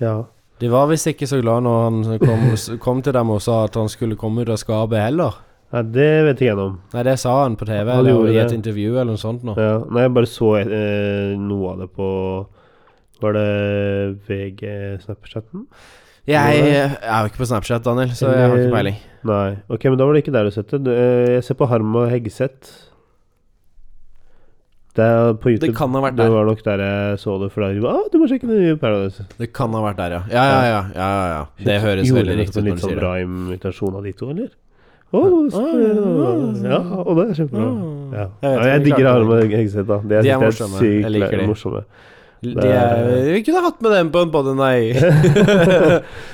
Speaker 1: Ja.
Speaker 2: De var visst ikke så glad når han kom, kom til dem og sa at han skulle komme ut av skapet heller.
Speaker 1: Nei, det vet ikke jeg noe om.
Speaker 2: Nei, det sa han på TV
Speaker 1: Han
Speaker 2: eller
Speaker 1: gjorde
Speaker 2: i et
Speaker 1: det.
Speaker 2: intervju eller noe sånt nå.
Speaker 1: Ja. Nei, jeg bare så eh, noe av det på Var det VG-Snapchatten?
Speaker 2: Jeg er jo ikke på Snapchat, Daniel, så jeg har ikke
Speaker 1: Eller-
Speaker 2: peiling.
Speaker 1: Nei. Ok, men da var det ikke der du har sett det. Du, eh, Jeg ser på Harm og Hegseth. Det er på YouTube.
Speaker 2: Det kan ha vært
Speaker 1: Det
Speaker 2: der.
Speaker 1: var nok der jeg så det, for da var ah, du må sjekke det nye Paradise.
Speaker 2: Det kan ha vært der, ja. Ja, ja, ja. ja, ja, ja. Det høres
Speaker 1: Gjorde
Speaker 2: veldig
Speaker 1: det
Speaker 2: riktig ut
Speaker 1: litt
Speaker 2: når du
Speaker 1: sånn
Speaker 2: sier det.
Speaker 1: bra imitasjon av de to, eller? Å,
Speaker 2: Ah,
Speaker 1: så- ja, og det er kjempebra. Ja.
Speaker 2: Jeg vet ikke,
Speaker 1: Jeg, jeg
Speaker 2: jeg
Speaker 1: digger
Speaker 2: klarte
Speaker 1: Harm og Hegseth, da. De er,
Speaker 2: De er
Speaker 1: sykt-
Speaker 2: morsomme.
Speaker 1: sykt
Speaker 2: Jeg liker de.
Speaker 1: morsomme.
Speaker 2: De er, vi kunne hatt med dem på en podde, nei. Eh,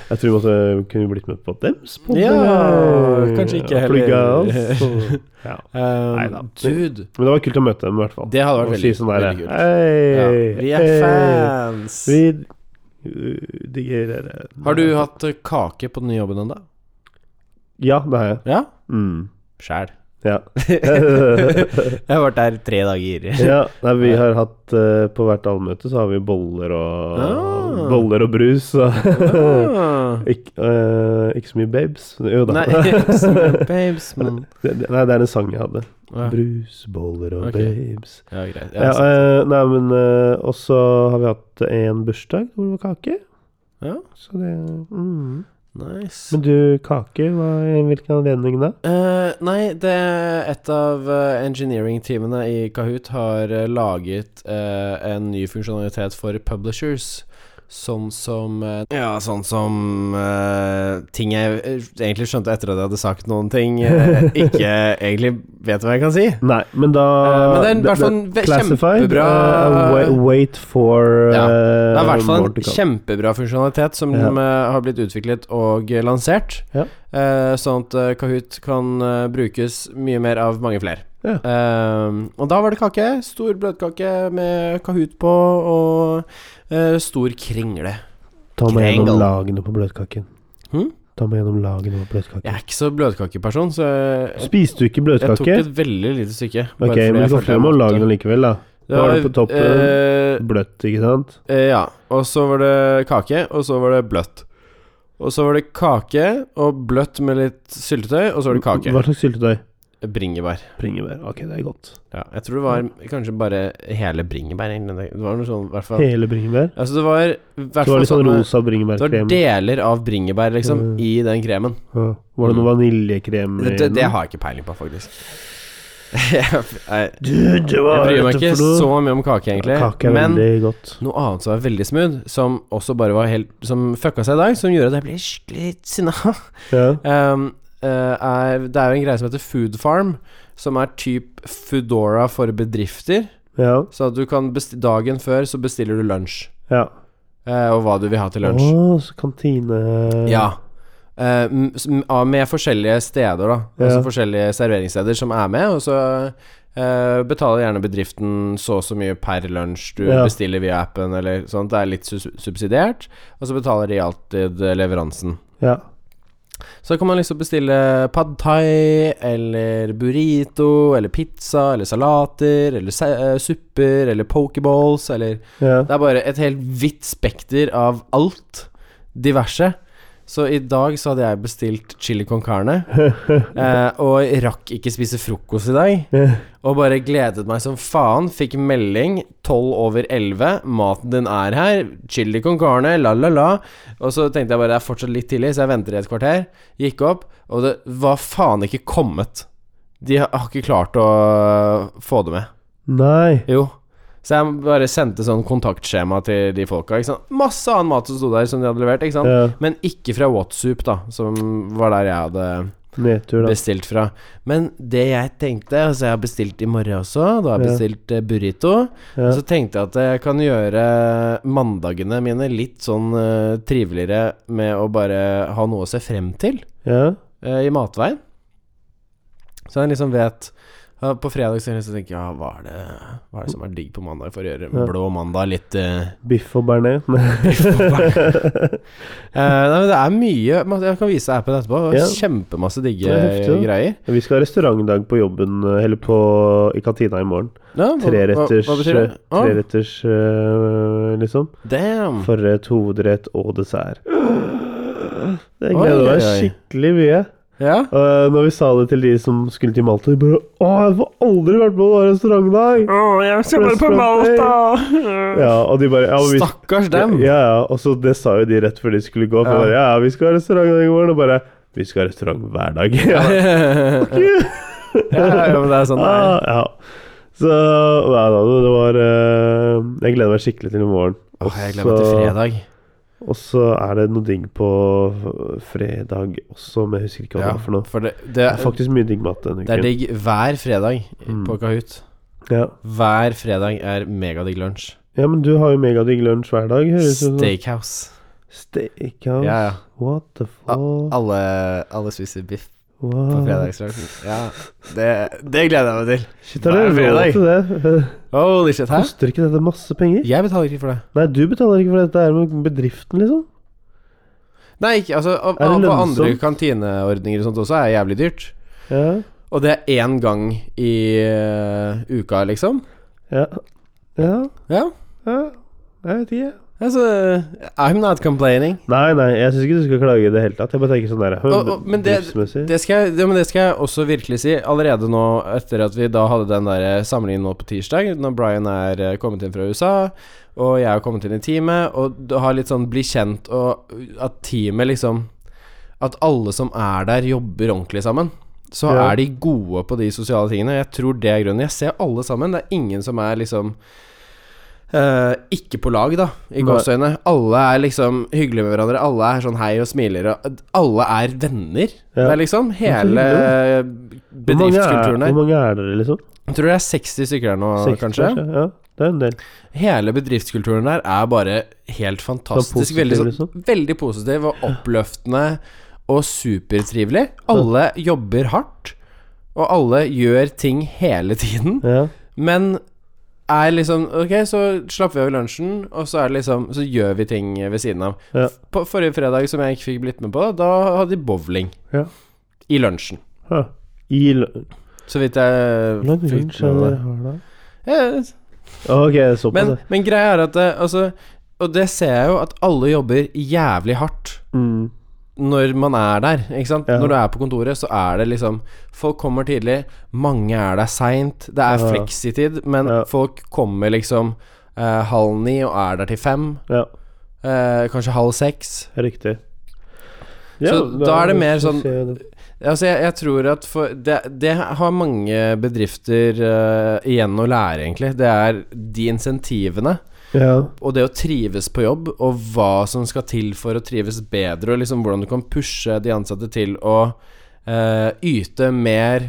Speaker 1: Jeg tror vi måtte kunne blitt med på dems. på
Speaker 2: Ja,
Speaker 1: det.
Speaker 2: kanskje ikke
Speaker 1: Ja, plugga
Speaker 2: heller.
Speaker 1: oss, og- ja.
Speaker 2: Um,
Speaker 1: Neida.
Speaker 2: dude,
Speaker 1: Men det var kult å møte dem, i hvert fall.
Speaker 2: det hadde vært
Speaker 1: Og si
Speaker 2: veldig,
Speaker 1: sånn der,
Speaker 2: veldig kult. Ja.
Speaker 1: Hei,
Speaker 2: Vi er
Speaker 1: hei,
Speaker 2: fans.
Speaker 1: Vi uh, digger dere.
Speaker 2: Har du hatt eh, kake på den nye jobben ennå?
Speaker 1: Ja, det har jeg.
Speaker 2: Ja?
Speaker 1: Mm.
Speaker 2: Sjæl.
Speaker 1: Ja.
Speaker 2: jeg har vært der tre dager.
Speaker 1: ja. Nei, vi har hatt eh, På hvert allmøte så har vi boller og
Speaker 2: Ah.
Speaker 1: Boller og brus. Og
Speaker 2: Ah.
Speaker 1: ikke, eh, ikke så mye babes. Jo da.
Speaker 2: Nei, babes, men
Speaker 1: Det, det, nei, det er en sang jeg hadde.
Speaker 2: ja.
Speaker 1: Brus, boller og
Speaker 2: Ok.
Speaker 1: babes.
Speaker 2: ja, greit.
Speaker 1: Ja,
Speaker 2: Ja, så-
Speaker 1: eh, nei, men eh, også har vi hatt en bursdag hvor det var kake.
Speaker 2: Ja.
Speaker 1: Så det mm.
Speaker 2: nice.
Speaker 1: Men du, kake, hva, hvilken anledning da?
Speaker 2: Eh, nei, det et av eh, engineering-teamene i Kahoot har eh, laget eh, en ny funksjonalitet for publishers. Sånn som eh, Ja, sånn som eh, ting jeg eh, egentlig skjønte etter at jeg hadde sagt noen ting, eh, ikke egentlig vet hva jeg kan si.
Speaker 1: Nei, men da
Speaker 2: Eh, men det er i
Speaker 1: da-
Speaker 2: hvert fall en
Speaker 1: da-
Speaker 2: ve-
Speaker 1: Classified,
Speaker 2: kjempebra-
Speaker 1: eh, wait, wait for
Speaker 2: Ja, Det er i
Speaker 1: eh,
Speaker 2: hvert fall
Speaker 1: more to
Speaker 2: en
Speaker 1: come.
Speaker 2: kjempebra funksjonalitet som
Speaker 1: Ja.
Speaker 2: eh, har blitt utviklet og eh, lansert.
Speaker 1: Ja.
Speaker 2: Eh, sånn at eh, Kahoot kan eh, brukes mye mer av mange flere.
Speaker 1: Ja.
Speaker 2: Eh, og da var det kake. Stor bløtkake med Kahoot på, og eh, stor kringle.
Speaker 1: Ta meg
Speaker 2: Kringle.
Speaker 1: gjennom lagene på bløtkaken.
Speaker 2: Hm?
Speaker 1: Ta meg gjennom lagene på bløtkaken.
Speaker 2: Jeg er ikke så bløtkakeperson, så jeg,
Speaker 1: Spiste du ikke
Speaker 2: jeg tok
Speaker 1: bløtkake?
Speaker 2: et veldig lite stykke. bare
Speaker 1: Ok,
Speaker 2: fordi jeg
Speaker 1: men du kan
Speaker 2: følte jeg
Speaker 1: frem og
Speaker 2: måtte.
Speaker 1: lage den likevel, da.
Speaker 2: Det
Speaker 1: Da
Speaker 2: var
Speaker 1: var det på toppen.
Speaker 2: eh,
Speaker 1: Bløtt, ikke sant?
Speaker 2: Eh, ja. Og så var det kake, og så var det bløtt. Og så var det kake og bløtt med litt syltetøy, og så var det kake.
Speaker 1: Hva slags syltetøy?
Speaker 2: Bringebær.
Speaker 1: Bringebær. Ok, det er godt.
Speaker 2: Ja, jeg tror det var kanskje bare hele bringebær. egentlig. Det var noe sånn, i hvert fall.
Speaker 1: Hele bringebær.
Speaker 2: Altså, det var i hvert
Speaker 1: Så det var
Speaker 2: fall
Speaker 1: litt sånn
Speaker 2: sånne-
Speaker 1: rosa
Speaker 2: det var
Speaker 1: bringebærkrem.
Speaker 2: deler av bringebær, liksom,
Speaker 1: Mm.
Speaker 2: i den kremen.
Speaker 1: Ja. Var det noe vaniljekrem i
Speaker 2: Mm. Det, det, det
Speaker 1: den?
Speaker 2: har jeg ikke peiling på, faktisk. jeg, jeg,
Speaker 1: Du, det
Speaker 2: jeg
Speaker 1: var
Speaker 2: bryr meg
Speaker 1: dette
Speaker 2: ikke
Speaker 1: for noe?
Speaker 2: så mye om kake, egentlig.
Speaker 1: Kake er
Speaker 2: men
Speaker 1: veldig godt.
Speaker 2: Noe annet som var veldig smooth, som også bare var helt Som fucka seg i dag, som gjorde at jeg ble skikkelig sinna.
Speaker 1: Ja.
Speaker 2: Um, eh, er, det er jo en greie som heter Food Farm, som er typ Foodora for bedrifter.
Speaker 1: Ja.
Speaker 2: Så at du kan besti dagen før så bestiller du lunsj,
Speaker 1: ja.
Speaker 2: eh, og hva du vil ha til
Speaker 1: Å,
Speaker 2: lunsj.
Speaker 1: så kantine
Speaker 2: Ja. Eh, m- s- m- av- med forskjellige steder, da. Altså
Speaker 1: Ja.
Speaker 2: forskjellige serveringssteder som er med, og så eh, betaler gjerne bedriften så og så mye per lunsj du
Speaker 1: Ja.
Speaker 2: bestiller via appen, eller sånt. Det er litt sus- subsidiert, og så betaler de alltid eh, leveransen.
Speaker 1: ja.
Speaker 2: Så kan man liksom bestille pad thai, eller burrito, eller pizza, eller salater, eller sa- eh, supper, eller pokeballs, eller
Speaker 1: ja.
Speaker 2: Det er bare et helt vidt spekter av alt. Diverse. Så i dag så hadde jeg bestilt chili con carne, eh, og rakk ikke spise frokost i dag. Og bare gledet meg som faen. Fikk melding 12 over 11. Maten din er her. Chili con carne, la, la, la. Og så tenkte jeg bare det er fortsatt litt tidlig, så jeg venter i et kvarter. Gikk opp, og det var faen ikke kommet. De har har ikke klart å få det med.
Speaker 1: Nei.
Speaker 2: Jo. Så jeg bare sendte sånn kontaktskjema til de folka. Ikke sant? Masse annen mat som sto der, som de hadde levert. Ikke sant?
Speaker 1: Ja.
Speaker 2: Men ikke fra Whatsup, da, som var der jeg hadde
Speaker 1: Nedtur, da.
Speaker 2: bestilt fra. Men det jeg tenkte Altså, jeg har bestilt i morgen også. Da har jeg
Speaker 1: Ja.
Speaker 2: bestilt eh, burrito.
Speaker 1: Ja.
Speaker 2: Så tenkte jeg at jeg kan gjøre mandagene mine litt sånn eh, triveligere med å bare ha noe å se frem til
Speaker 1: Ja.
Speaker 2: eh, i matveien. Så en liksom vet ja, På fredag så liksom tenker jeg ja, hva er, det, hva er det som er digg på mandag for å gjøre
Speaker 1: Ja.
Speaker 2: blå mandag litt eh,
Speaker 1: Biff og bearnés.
Speaker 2: eh, Nei, men det er mye masse- Jeg kan vise deg appen etterpå. Det var
Speaker 1: Ja.
Speaker 2: Kjempemasse digge
Speaker 1: Det er heftig, da.
Speaker 2: greier.
Speaker 1: Vi skal ha restaurantdag på jobben, eller på, i kantina i morgen.
Speaker 2: Ja, hva-
Speaker 1: Treretters, eh,
Speaker 2: Hva, hva betyr det? Ah,
Speaker 1: treretters øh, liksom.
Speaker 2: damn!
Speaker 1: Forrett, hovedrett og dessert. Det
Speaker 2: Oi, oi,
Speaker 1: gleder meg
Speaker 2: oi.
Speaker 1: skikkelig mye.
Speaker 2: Ja.
Speaker 1: Uh, når vi sa det til de som skulle til Malta, de bare Å, jeg får aldri vært på noen restaurantdag!
Speaker 2: jeg
Speaker 1: skal bare på
Speaker 2: Malta!
Speaker 1: Ja, og de bare ja, og vi,
Speaker 2: Stakkars dem!
Speaker 1: Ja, ja, og så det sa jo de rett før de skulle gå. For
Speaker 2: Ja.
Speaker 1: bare, ja, vi skal ha restaurantdag i morgen. Og bare Vi skal ha restaurant hver dag.
Speaker 2: ja,
Speaker 1: Ja.
Speaker 2: ja, men det er sånn det er.
Speaker 1: Ah, ja. Så nei da, det var eh, Jeg gleder meg skikkelig til i morgen.
Speaker 2: Åh, jeg gleder meg til
Speaker 1: Også-
Speaker 2: fredag.
Speaker 1: Og så er det noe digg på f- fredag også, men jeg husker ikke hva
Speaker 2: Ja,
Speaker 1: det var for noe.
Speaker 2: for det,
Speaker 1: Det
Speaker 2: det,
Speaker 1: er faktisk mye digg mat denne
Speaker 2: det er
Speaker 1: uken.
Speaker 2: digg hver fredag
Speaker 1: Mm.
Speaker 2: på Kahoot.
Speaker 1: Ja.
Speaker 2: Hver fredag er megadigg lunsj.
Speaker 1: ja, men du har jo megadigg lunsj hver dag, høres det ut som.
Speaker 2: Steakhouse.
Speaker 1: Steakhouse.
Speaker 2: Ja, ja.
Speaker 1: What the fuck?
Speaker 2: Alle, alle spiser biff på
Speaker 1: Wow.
Speaker 2: fredagslunsj. Ja, det, det gleder jeg meg til.
Speaker 1: Shit, har dere
Speaker 2: Hver
Speaker 1: råd til det?
Speaker 2: Holy shit, hæ?
Speaker 1: Koster ikke dette masse penger?
Speaker 2: Jeg betaler ikke for det.
Speaker 1: Nei, du betaler ikke for dette her med bedriften, liksom.
Speaker 2: Nei, ikke, altså, og,
Speaker 1: Er
Speaker 2: og
Speaker 1: det
Speaker 2: på andre
Speaker 1: lønnsomt?
Speaker 2: kantineordninger og sånt også er det jævlig dyrt.
Speaker 1: Ja.
Speaker 2: Og det er én gang i eh, uka, liksom.
Speaker 1: Ja. Ja.
Speaker 2: Ja,
Speaker 1: ja. Jeg vet ikke.
Speaker 2: altså I'm not complaining.
Speaker 1: Nei, nei, jeg syns ikke du skal klage i det hele tatt. Jeg bare tenker sånn der
Speaker 2: Og- og- men det-
Speaker 1: driftsmessig.
Speaker 2: Det skal, jeg, ja, men det skal jeg også virkelig si. Allerede nå, etter at vi da hadde den der eh, samlingen nå på tirsdag, når Brian er eh, kommet inn fra USA, og jeg har kommet inn i teamet, og du har litt sånn bli kjent, og at teamet liksom At alle som er der, jobber ordentlig sammen. Så
Speaker 1: Ja.
Speaker 2: er de gode på de sosiale tingene. Jeg tror det er grunnen. Jeg ser alle sammen. Det er ingen som er liksom eh, ikke på lag, da, i
Speaker 1: Nei.
Speaker 2: gåseøyne. Alle er liksom hyggelige med hverandre. Alle er sånn hei og smiler, og alle er venner.
Speaker 1: Ja.
Speaker 2: Det er liksom hele
Speaker 1: Hvor mange, er,
Speaker 2: bedriftskulturen
Speaker 1: hvor
Speaker 2: her.
Speaker 1: mange er dere, liksom?
Speaker 2: Jeg tror det er 60 stykker her nå,
Speaker 1: 60,
Speaker 2: kanskje.
Speaker 1: Ja, det er en del.
Speaker 2: Hele bedriftskulturen der er bare helt fantastisk.
Speaker 1: positiv,
Speaker 2: veldig, sånn,
Speaker 1: liksom.
Speaker 2: veldig positiv og oppløftende og supertrivelig. Alle jobber hardt, og alle gjør ting hele tiden.
Speaker 1: Ja.
Speaker 2: Men er liksom Ok, så slapper vi av i lunsjen, og så er det liksom Så gjør vi ting ved siden av.
Speaker 1: Ja.
Speaker 2: På forrige fredag, som jeg ikke fikk blitt med på, da hadde de bowling
Speaker 1: Ja.
Speaker 2: i lunsjen.
Speaker 1: ja. I l-
Speaker 2: Så vidt jeg
Speaker 1: Hvor lang
Speaker 2: fikk
Speaker 1: lunsj er
Speaker 2: med
Speaker 1: det
Speaker 2: meg.
Speaker 1: dere har da?
Speaker 2: Ja,
Speaker 1: Ok, såpass,
Speaker 2: Men,
Speaker 1: ja.
Speaker 2: men greia er at det, altså, Og det ser jeg jo at alle jobber jævlig hardt
Speaker 1: Mm.
Speaker 2: når man er der. Ikke sant?
Speaker 1: Ja.
Speaker 2: Når du er på kontoret, så er det liksom Folk kommer tidlig, mange er der seint. Det er
Speaker 1: Ja.
Speaker 2: fleksitid, men
Speaker 1: Ja.
Speaker 2: folk kommer liksom eh, halv ni og er der til fem.
Speaker 1: Ja,
Speaker 2: eh, kanskje halv seks.
Speaker 1: riktig.
Speaker 2: Så da er det mer sånn-
Speaker 1: ser jeg det.
Speaker 2: Altså, jeg, jeg tror at for det, det har mange bedrifter eh, igjen å lære, egentlig. Det er de insentivene.
Speaker 1: Ja.
Speaker 2: Og det å trives på jobb, og hva som skal til for å trives bedre, og liksom hvordan du kan pushe de ansatte til å eh, yte mer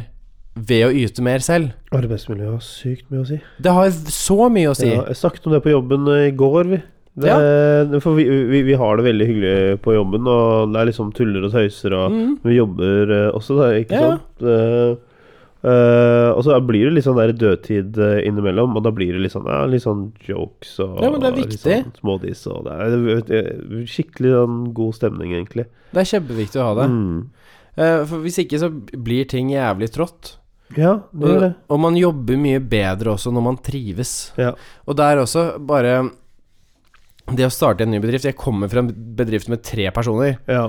Speaker 2: ved å yte mer selv.
Speaker 1: Arbeidsmiljø har sykt mye å si.
Speaker 2: Det har så mye å si.
Speaker 1: Ja, jeg snakket om det på jobben eh, i går, vi. Det, For vi, vi, vi har det veldig hyggelig på jobben, og det er liksom tuller og tøyser, og vi jobber eh, også, da,
Speaker 2: Mhm.
Speaker 1: ikke
Speaker 2: Ja.
Speaker 1: sant? Eh, eh, og så blir det litt sånn der dødtid eh, innimellom, og da blir det litt sånn, ja, litt sånn jokes og
Speaker 2: Ja, men det er
Speaker 1: litt
Speaker 2: viktig.
Speaker 1: Sånn smådis og det er det er skikkelig sånn god stemning, egentlig.
Speaker 2: Det er kjempeviktig å ha det.
Speaker 1: Mm.
Speaker 2: Eh, for hvis ikke så blir ting jævlig trått.
Speaker 1: Ja, det
Speaker 2: Og,
Speaker 1: gjør det.
Speaker 2: og man jobber mye bedre også når man trives.
Speaker 1: Ja.
Speaker 2: Og der også, bare det å starte en ny bedrift Jeg kommer fra en bedrift med tre personer,
Speaker 1: Ja.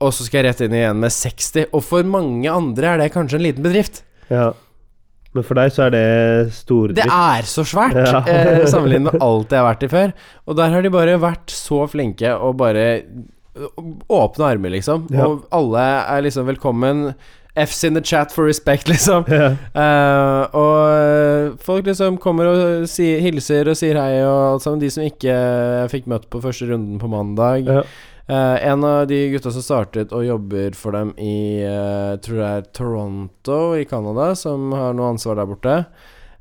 Speaker 2: og så skal jeg rett inn i en med 60. Og for mange andre er det kanskje en liten bedrift.
Speaker 1: ja. Men for deg så er det
Speaker 2: Det
Speaker 1: stordrift.
Speaker 2: er så svært,
Speaker 1: Ja.
Speaker 2: eh, sammenlignet med alt jeg har vært i før. Og der har de bare vært så flinke og bare eh, åpne armer, liksom.
Speaker 1: Ja.
Speaker 2: Og alle er liksom velkommen. F's in the chat for respect, liksom.
Speaker 1: Ja.
Speaker 2: Eh, og folk liksom kommer og si, hilser og sier hei og alt sammen. De som ikke jeg fikk møtt på første runden på mandag.
Speaker 1: Ja.
Speaker 2: Eh, en av de gutta som startet og jobber for dem i eh, tror det er Toronto i Canada, som har noe ansvar der borte.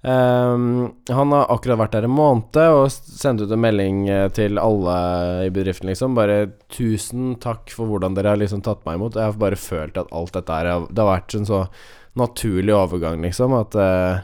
Speaker 2: Ehm, han har akkurat vært der en måned og s- sendte ut en melding eh, til alle i bedriften, liksom. Bare 'tusen takk for hvordan dere har liksom tatt meg imot'. Jeg har bare følt at alt dette her har- Det har vært en så naturlig overgang, liksom, at eh,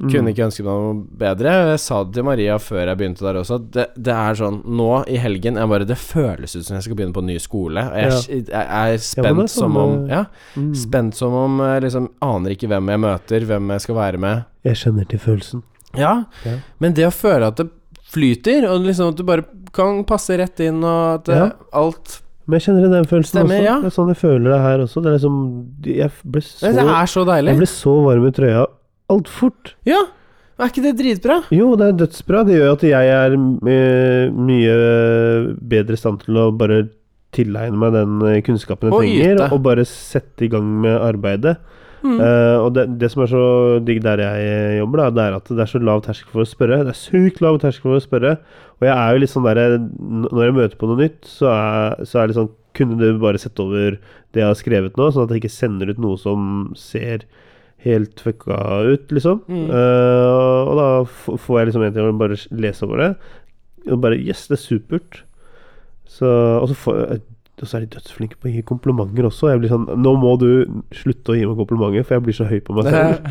Speaker 1: Mm.
Speaker 2: kunne ikke ønske meg noe bedre. Jeg sa det til Maria før jeg begynte der også. at Det, det er sånn nå i helgen jeg bare, Det føles ut som jeg skal begynne på en ny skole. Og jeg, jeg er
Speaker 1: Ja, men
Speaker 2: spent
Speaker 1: det er
Speaker 2: som om
Speaker 1: sånn, eh,
Speaker 2: Ja, spent som om eh, liksom aner ikke hvem jeg møter, hvem jeg skal være med.
Speaker 1: Jeg kjenner til følelsen.
Speaker 2: Ja,
Speaker 1: Ja.
Speaker 2: men det å føle at det flyter, og liksom at du bare kan passe rett inn, og at eh,
Speaker 1: Ja.
Speaker 2: alt
Speaker 1: Men jeg kjenner den følelsen
Speaker 2: Stemmer,
Speaker 1: også.
Speaker 2: ja.
Speaker 1: Det er sånn jeg føler det her også. Det er liksom Jeg ble så,
Speaker 2: Det er så deilig.
Speaker 1: jeg ble så varm i trøya altfor fort.
Speaker 2: Ja, er ikke det dritbra?
Speaker 1: Jo, det er dødsbra. Det gjør at jeg er eh, mye bedre i stand til å bare tilegne meg den eh, kunnskapen jeg
Speaker 2: Og
Speaker 1: trenger,
Speaker 2: yte.
Speaker 1: og bare sette i gang med arbeidet. Eh, og det, det som er så digg der jeg jobber, da, det er at det er så lav terskel for å spørre. Det er sykt lav terskel for å spørre. Og jeg er jo litt sånn der n- Når jeg møter på noe nytt, så er, så er det sånn Kunne du bare sette over det jeg har skrevet nå, sånn at jeg ikke sender ut noe som ser helt fucka ut, liksom? Eh, og da f- får jeg liksom en til å bare lese over det. Og bare Yes, det er supert. Så, og, så får, og så er de dødsflinke på å gi komplimenter også. Jeg blir sånn Nå må du slutte å gi meg komplimenter, for jeg blir så høy på meg selv.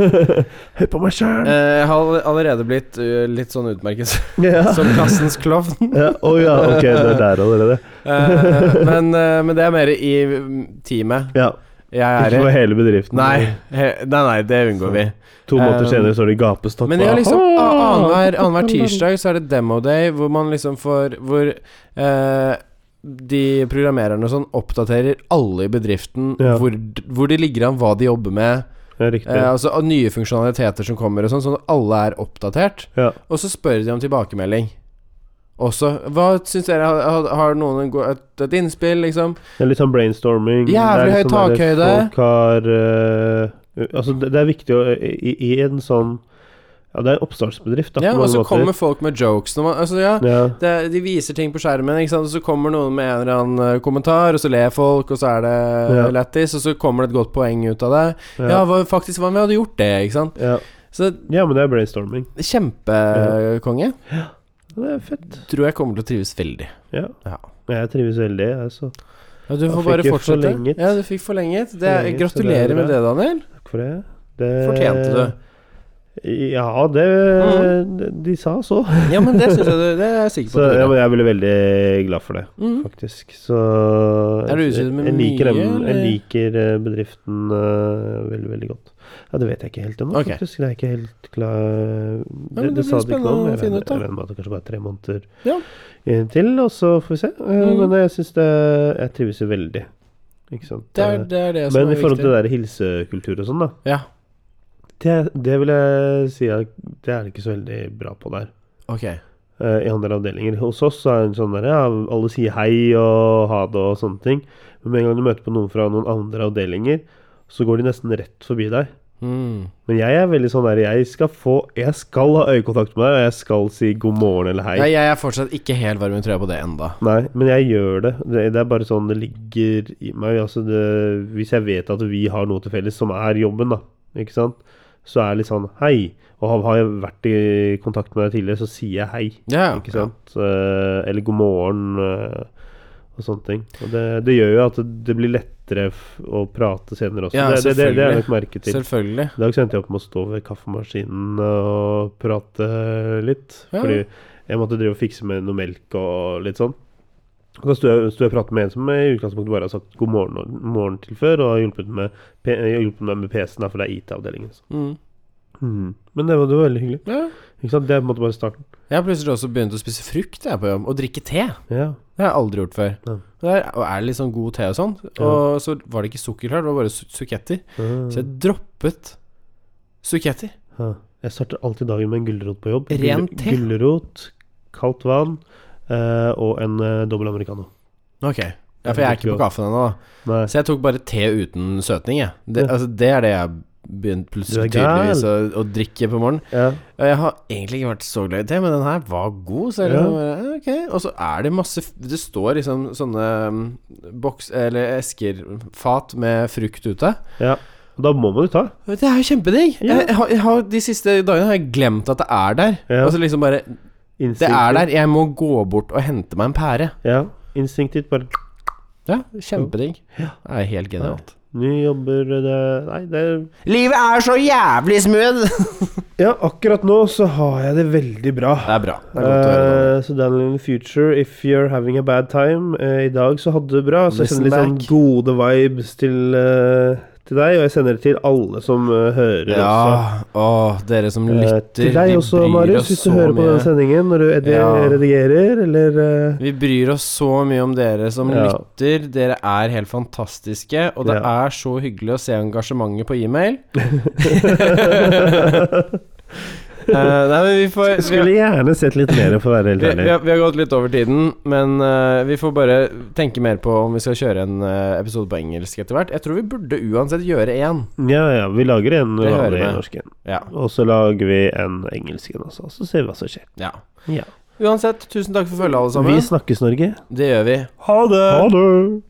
Speaker 1: høy på meg sjøl!
Speaker 2: Eh, Jeg har allerede blitt eh, litt sånn utmerket
Speaker 1: Ja.
Speaker 2: som klassens klovn.
Speaker 1: Ja, å ja, ok, det er der allerede.
Speaker 2: Eh, men, eh, men det er mer i mm, teamet
Speaker 1: Ja,
Speaker 2: jeg er
Speaker 1: ikke for
Speaker 2: i.
Speaker 1: hele bedriften.
Speaker 2: Nei, he, nei, nei, det unngår vi.
Speaker 1: To måneder
Speaker 2: Um,
Speaker 1: senere står det i gapestokk.
Speaker 2: Men jeg har
Speaker 1: bare,
Speaker 2: liksom
Speaker 1: «Åh!»
Speaker 2: a- annenhver annenhver tirsdag så er det demo day, hvor man liksom får Hvor eh, de programmererne og sånn oppdaterer alle i bedriften
Speaker 1: Ja.
Speaker 2: hvor, d- hvor de ligger an, hva de jobber med,
Speaker 1: Ja, riktig.
Speaker 2: eh, altså og nye funksjonaliteter som kommer og sånn, sånn at alle er oppdatert.
Speaker 1: Ja.
Speaker 2: Og så spør de om tilbakemelding også. Hva syns dere? Har, har noen en go- et, et innspill, liksom?
Speaker 1: Det er litt sånn brainstorming. det er
Speaker 2: Jævlig
Speaker 1: litt
Speaker 2: høy
Speaker 1: sånn der
Speaker 2: takhøyde.
Speaker 1: Folk har eh, Altså, det, det er viktig å i, I en sånn Ja, det er en oppstartsbedrift, da.
Speaker 2: Ja,
Speaker 1: på
Speaker 2: og
Speaker 1: mange
Speaker 2: så
Speaker 1: måter.
Speaker 2: kommer folk med jokes når man Altså, ja.
Speaker 1: ja.
Speaker 2: Det, de viser ting på skjermen, ikke sant? og så kommer noen med en eller annen eh, kommentar, og så ler folk, og så er det ja.
Speaker 1: Ja.
Speaker 2: lættis, og så kommer det et godt poeng ut av det. Ja,
Speaker 1: Ja.
Speaker 2: hva, faktisk, hva om vi hadde gjort det, ikke sant?
Speaker 1: Ja.
Speaker 2: Så
Speaker 1: ja, men det er brainstorming.
Speaker 2: kjempekonge.
Speaker 1: Det er fett.
Speaker 2: Tror jeg kommer til å trives veldig.
Speaker 1: Ja.
Speaker 2: Ja.
Speaker 1: Men Jeg trives veldig, jeg, så
Speaker 2: Ja, du
Speaker 1: Da
Speaker 2: får
Speaker 1: fikk
Speaker 2: bare
Speaker 1: jeg
Speaker 2: fortsette.
Speaker 1: forlenget.
Speaker 2: Ja, du fikk forlenget. Det, er-
Speaker 1: Forlenget, så det er
Speaker 2: gratulerer med
Speaker 1: bra.
Speaker 2: det, Daniel.
Speaker 1: takk for det. det
Speaker 2: Fortjente du. Mm.
Speaker 1: Ja, det De sa så.
Speaker 2: Ja, men det syns jeg du Det er jeg sikker på.
Speaker 1: så
Speaker 2: at du
Speaker 1: ja,
Speaker 2: gjorde.
Speaker 1: men jeg ble veldig glad for det,
Speaker 2: Mm.
Speaker 1: faktisk. Så
Speaker 2: Er du usikker med
Speaker 1: jeg liker,
Speaker 2: mye,
Speaker 1: dem, jeg
Speaker 2: eller?
Speaker 1: liker eh, bedriften eh, veldig, veldig godt. Ja, Det vet jeg ikke helt ennå,
Speaker 2: Ok.
Speaker 1: faktisk. Det er ikke helt klar Det,
Speaker 2: men det blir
Speaker 1: de ikke noe om.
Speaker 2: spennende å
Speaker 1: Jeg
Speaker 2: finne
Speaker 1: regner-
Speaker 2: ut, da.
Speaker 1: Jeg regner med at det kanskje bare er tre måneder
Speaker 2: Ja.
Speaker 1: eh, til, og så får vi se. Eh,
Speaker 2: Mm.
Speaker 1: Men jeg syns det Jeg trives jo veldig. Ikke sant.
Speaker 2: Det er
Speaker 1: Eh,
Speaker 2: det, er det som
Speaker 1: men i
Speaker 2: er
Speaker 1: forhold
Speaker 2: viktig.
Speaker 1: til det der hilsekultur og sånn, da.
Speaker 2: Ja,
Speaker 1: Det, det vil jeg si at det er det ikke så veldig bra på der.
Speaker 2: ok.
Speaker 1: eh, I andre avdelinger. Hos oss så er det sånn der ja, alle sier hei og ha det og sånne ting. Men med en gang du møter på noen fra noen andre avdelinger, så går de nesten rett forbi deg.
Speaker 2: Mm.
Speaker 1: Men jeg er veldig sånn der Jeg skal få Jeg skal ha øyekontakt med deg, og jeg skal si god morgen eller hei.
Speaker 2: Nei, jeg er fortsatt ikke helt varm i trøya på det enda
Speaker 1: Nei, men jeg gjør det. det. Det er bare sånn det ligger i meg. Altså det, hvis jeg vet at vi har noe til felles, som er jobben, da, ikke sant, så er det litt sånn hei. Og har- har jeg vært i kontakt med deg tidligere, så sier jeg hei.
Speaker 2: Ja,
Speaker 1: Ikke sant? Eh, Eller god morgen eh, og sånne ting. Og det, det gjør jo at det blir lettere f å prate senere også.
Speaker 2: Ja,
Speaker 1: det, det, det, det er
Speaker 2: selvfølgelig.
Speaker 1: nok merke til.
Speaker 2: Selvfølgelig.
Speaker 1: I dag så endte jeg opp med å stå ved kaffemaskinen og prate litt.
Speaker 2: Ja.
Speaker 1: Fordi jeg måtte drive og fikse med noe melk og litt sånn. Og da sto jeg, sto jeg og pratet med en som i utgangspunktet bare har sagt god morgen, og, morgen til før, og har hjulpet, med, P- hjulpet meg med PC-en, da, for det er IT-avdelingen. så.
Speaker 2: Mm.
Speaker 1: Men det var, det var veldig hyggelig.
Speaker 2: Ja.
Speaker 1: Ikke sant? Det er på en måte bare starten.
Speaker 2: Jeg har plutselig også begynt å spise frukt jeg, på jobb, og drikke te.
Speaker 1: Ja.
Speaker 2: Det har jeg aldri gjort før.
Speaker 1: Ja.
Speaker 2: Det er, og er litt sånn god te og sånn.
Speaker 1: Ja.
Speaker 2: Og så var det ikke sukkerhøl, det var bare su suketter.
Speaker 1: Ah.
Speaker 2: Så jeg droppet suketter.
Speaker 1: Ja. Jeg starter alltid dagen med en gulrot på jobb.
Speaker 2: Ren
Speaker 1: Gul-
Speaker 2: te?
Speaker 1: Gulrot, kaldt vann eh, og en eh, dobbel americano.
Speaker 2: Ok. Ja, for jeg er ikke på kaffen ennå, da.
Speaker 1: Nei.
Speaker 2: Så jeg tok bare te uten søtning, jeg. Det,
Speaker 1: Ja.
Speaker 2: altså, det er det jeg begynte plutselig
Speaker 1: Du er gal.
Speaker 2: tydeligvis å, å drikke på morgenen.
Speaker 1: Ja.
Speaker 2: Og jeg har egentlig ikke vært så glad i te, men den her var god. Så jeg
Speaker 1: Ja.
Speaker 2: liksom bare, ok Og så er det masse f- Det står liksom sånne mm, boks Eller esker, fat med frukt ute.
Speaker 1: ja. Og da må man jo ta.
Speaker 2: Det er jo kjempedigg!
Speaker 1: Ja.
Speaker 2: Jeg, jeg, har- jeg har, de siste dagene har jeg glemt at det er der.
Speaker 1: Ja.
Speaker 2: Og så liksom bare Det er der! Jeg må gå bort og hente meg en pære.
Speaker 1: Ja, instinktivt bare
Speaker 2: Ja, Kjempedigg. Det er helt genialt.
Speaker 1: Nye jobber det, Nei, det er
Speaker 2: Livet er så jævlig smooth!
Speaker 1: Ja, akkurat nå så har jeg det veldig bra.
Speaker 2: Det er bra. Det er godt å høre.
Speaker 1: Eh, så Daniel in the future, if you're having a bad time eh, I dag så hadde du det bra. Så jeg
Speaker 2: Listen
Speaker 1: sender litt sånn
Speaker 2: back.
Speaker 1: gode vibes til, eh, til deg, og jeg sender det til alle som eh, hører også.
Speaker 2: Ja, åh, dere som
Speaker 1: Eh,
Speaker 2: lytter,
Speaker 1: til deg også, Marius, hvis du hører på denne sendingen når du edi-
Speaker 2: Ja.
Speaker 1: redigerer, eller eh,
Speaker 2: Vi bryr oss så mye om dere som
Speaker 1: Ja.
Speaker 2: lytter. Dere er helt fantastiske, og det
Speaker 1: Ja.
Speaker 2: er så hyggelig å se engasjementet på e-mail. Eh, nei, men vi får vi,
Speaker 1: Skulle gjerne sett litt mer, for å være helt
Speaker 2: vi, vi,
Speaker 1: ærlig.
Speaker 2: har, vi har gått litt over tiden, men eh, vi får bare tenke mer på om vi skal kjøre en eh, episode på engelsk etter hvert. Jeg tror vi burde uansett gjøre én.
Speaker 1: Ja, ja, vi lager en
Speaker 2: Det hører
Speaker 1: vanlig
Speaker 2: med.
Speaker 1: norsk en.
Speaker 2: Ja.
Speaker 1: Og så lager vi en engelsk en også, så ser vi hva som skjer.
Speaker 2: ja.
Speaker 1: Ja.
Speaker 2: Uansett, tusen takk for følget, alle
Speaker 1: Vi
Speaker 2: sammen.
Speaker 1: snakkes, Norge.
Speaker 2: Det gjør vi.
Speaker 1: Ha det!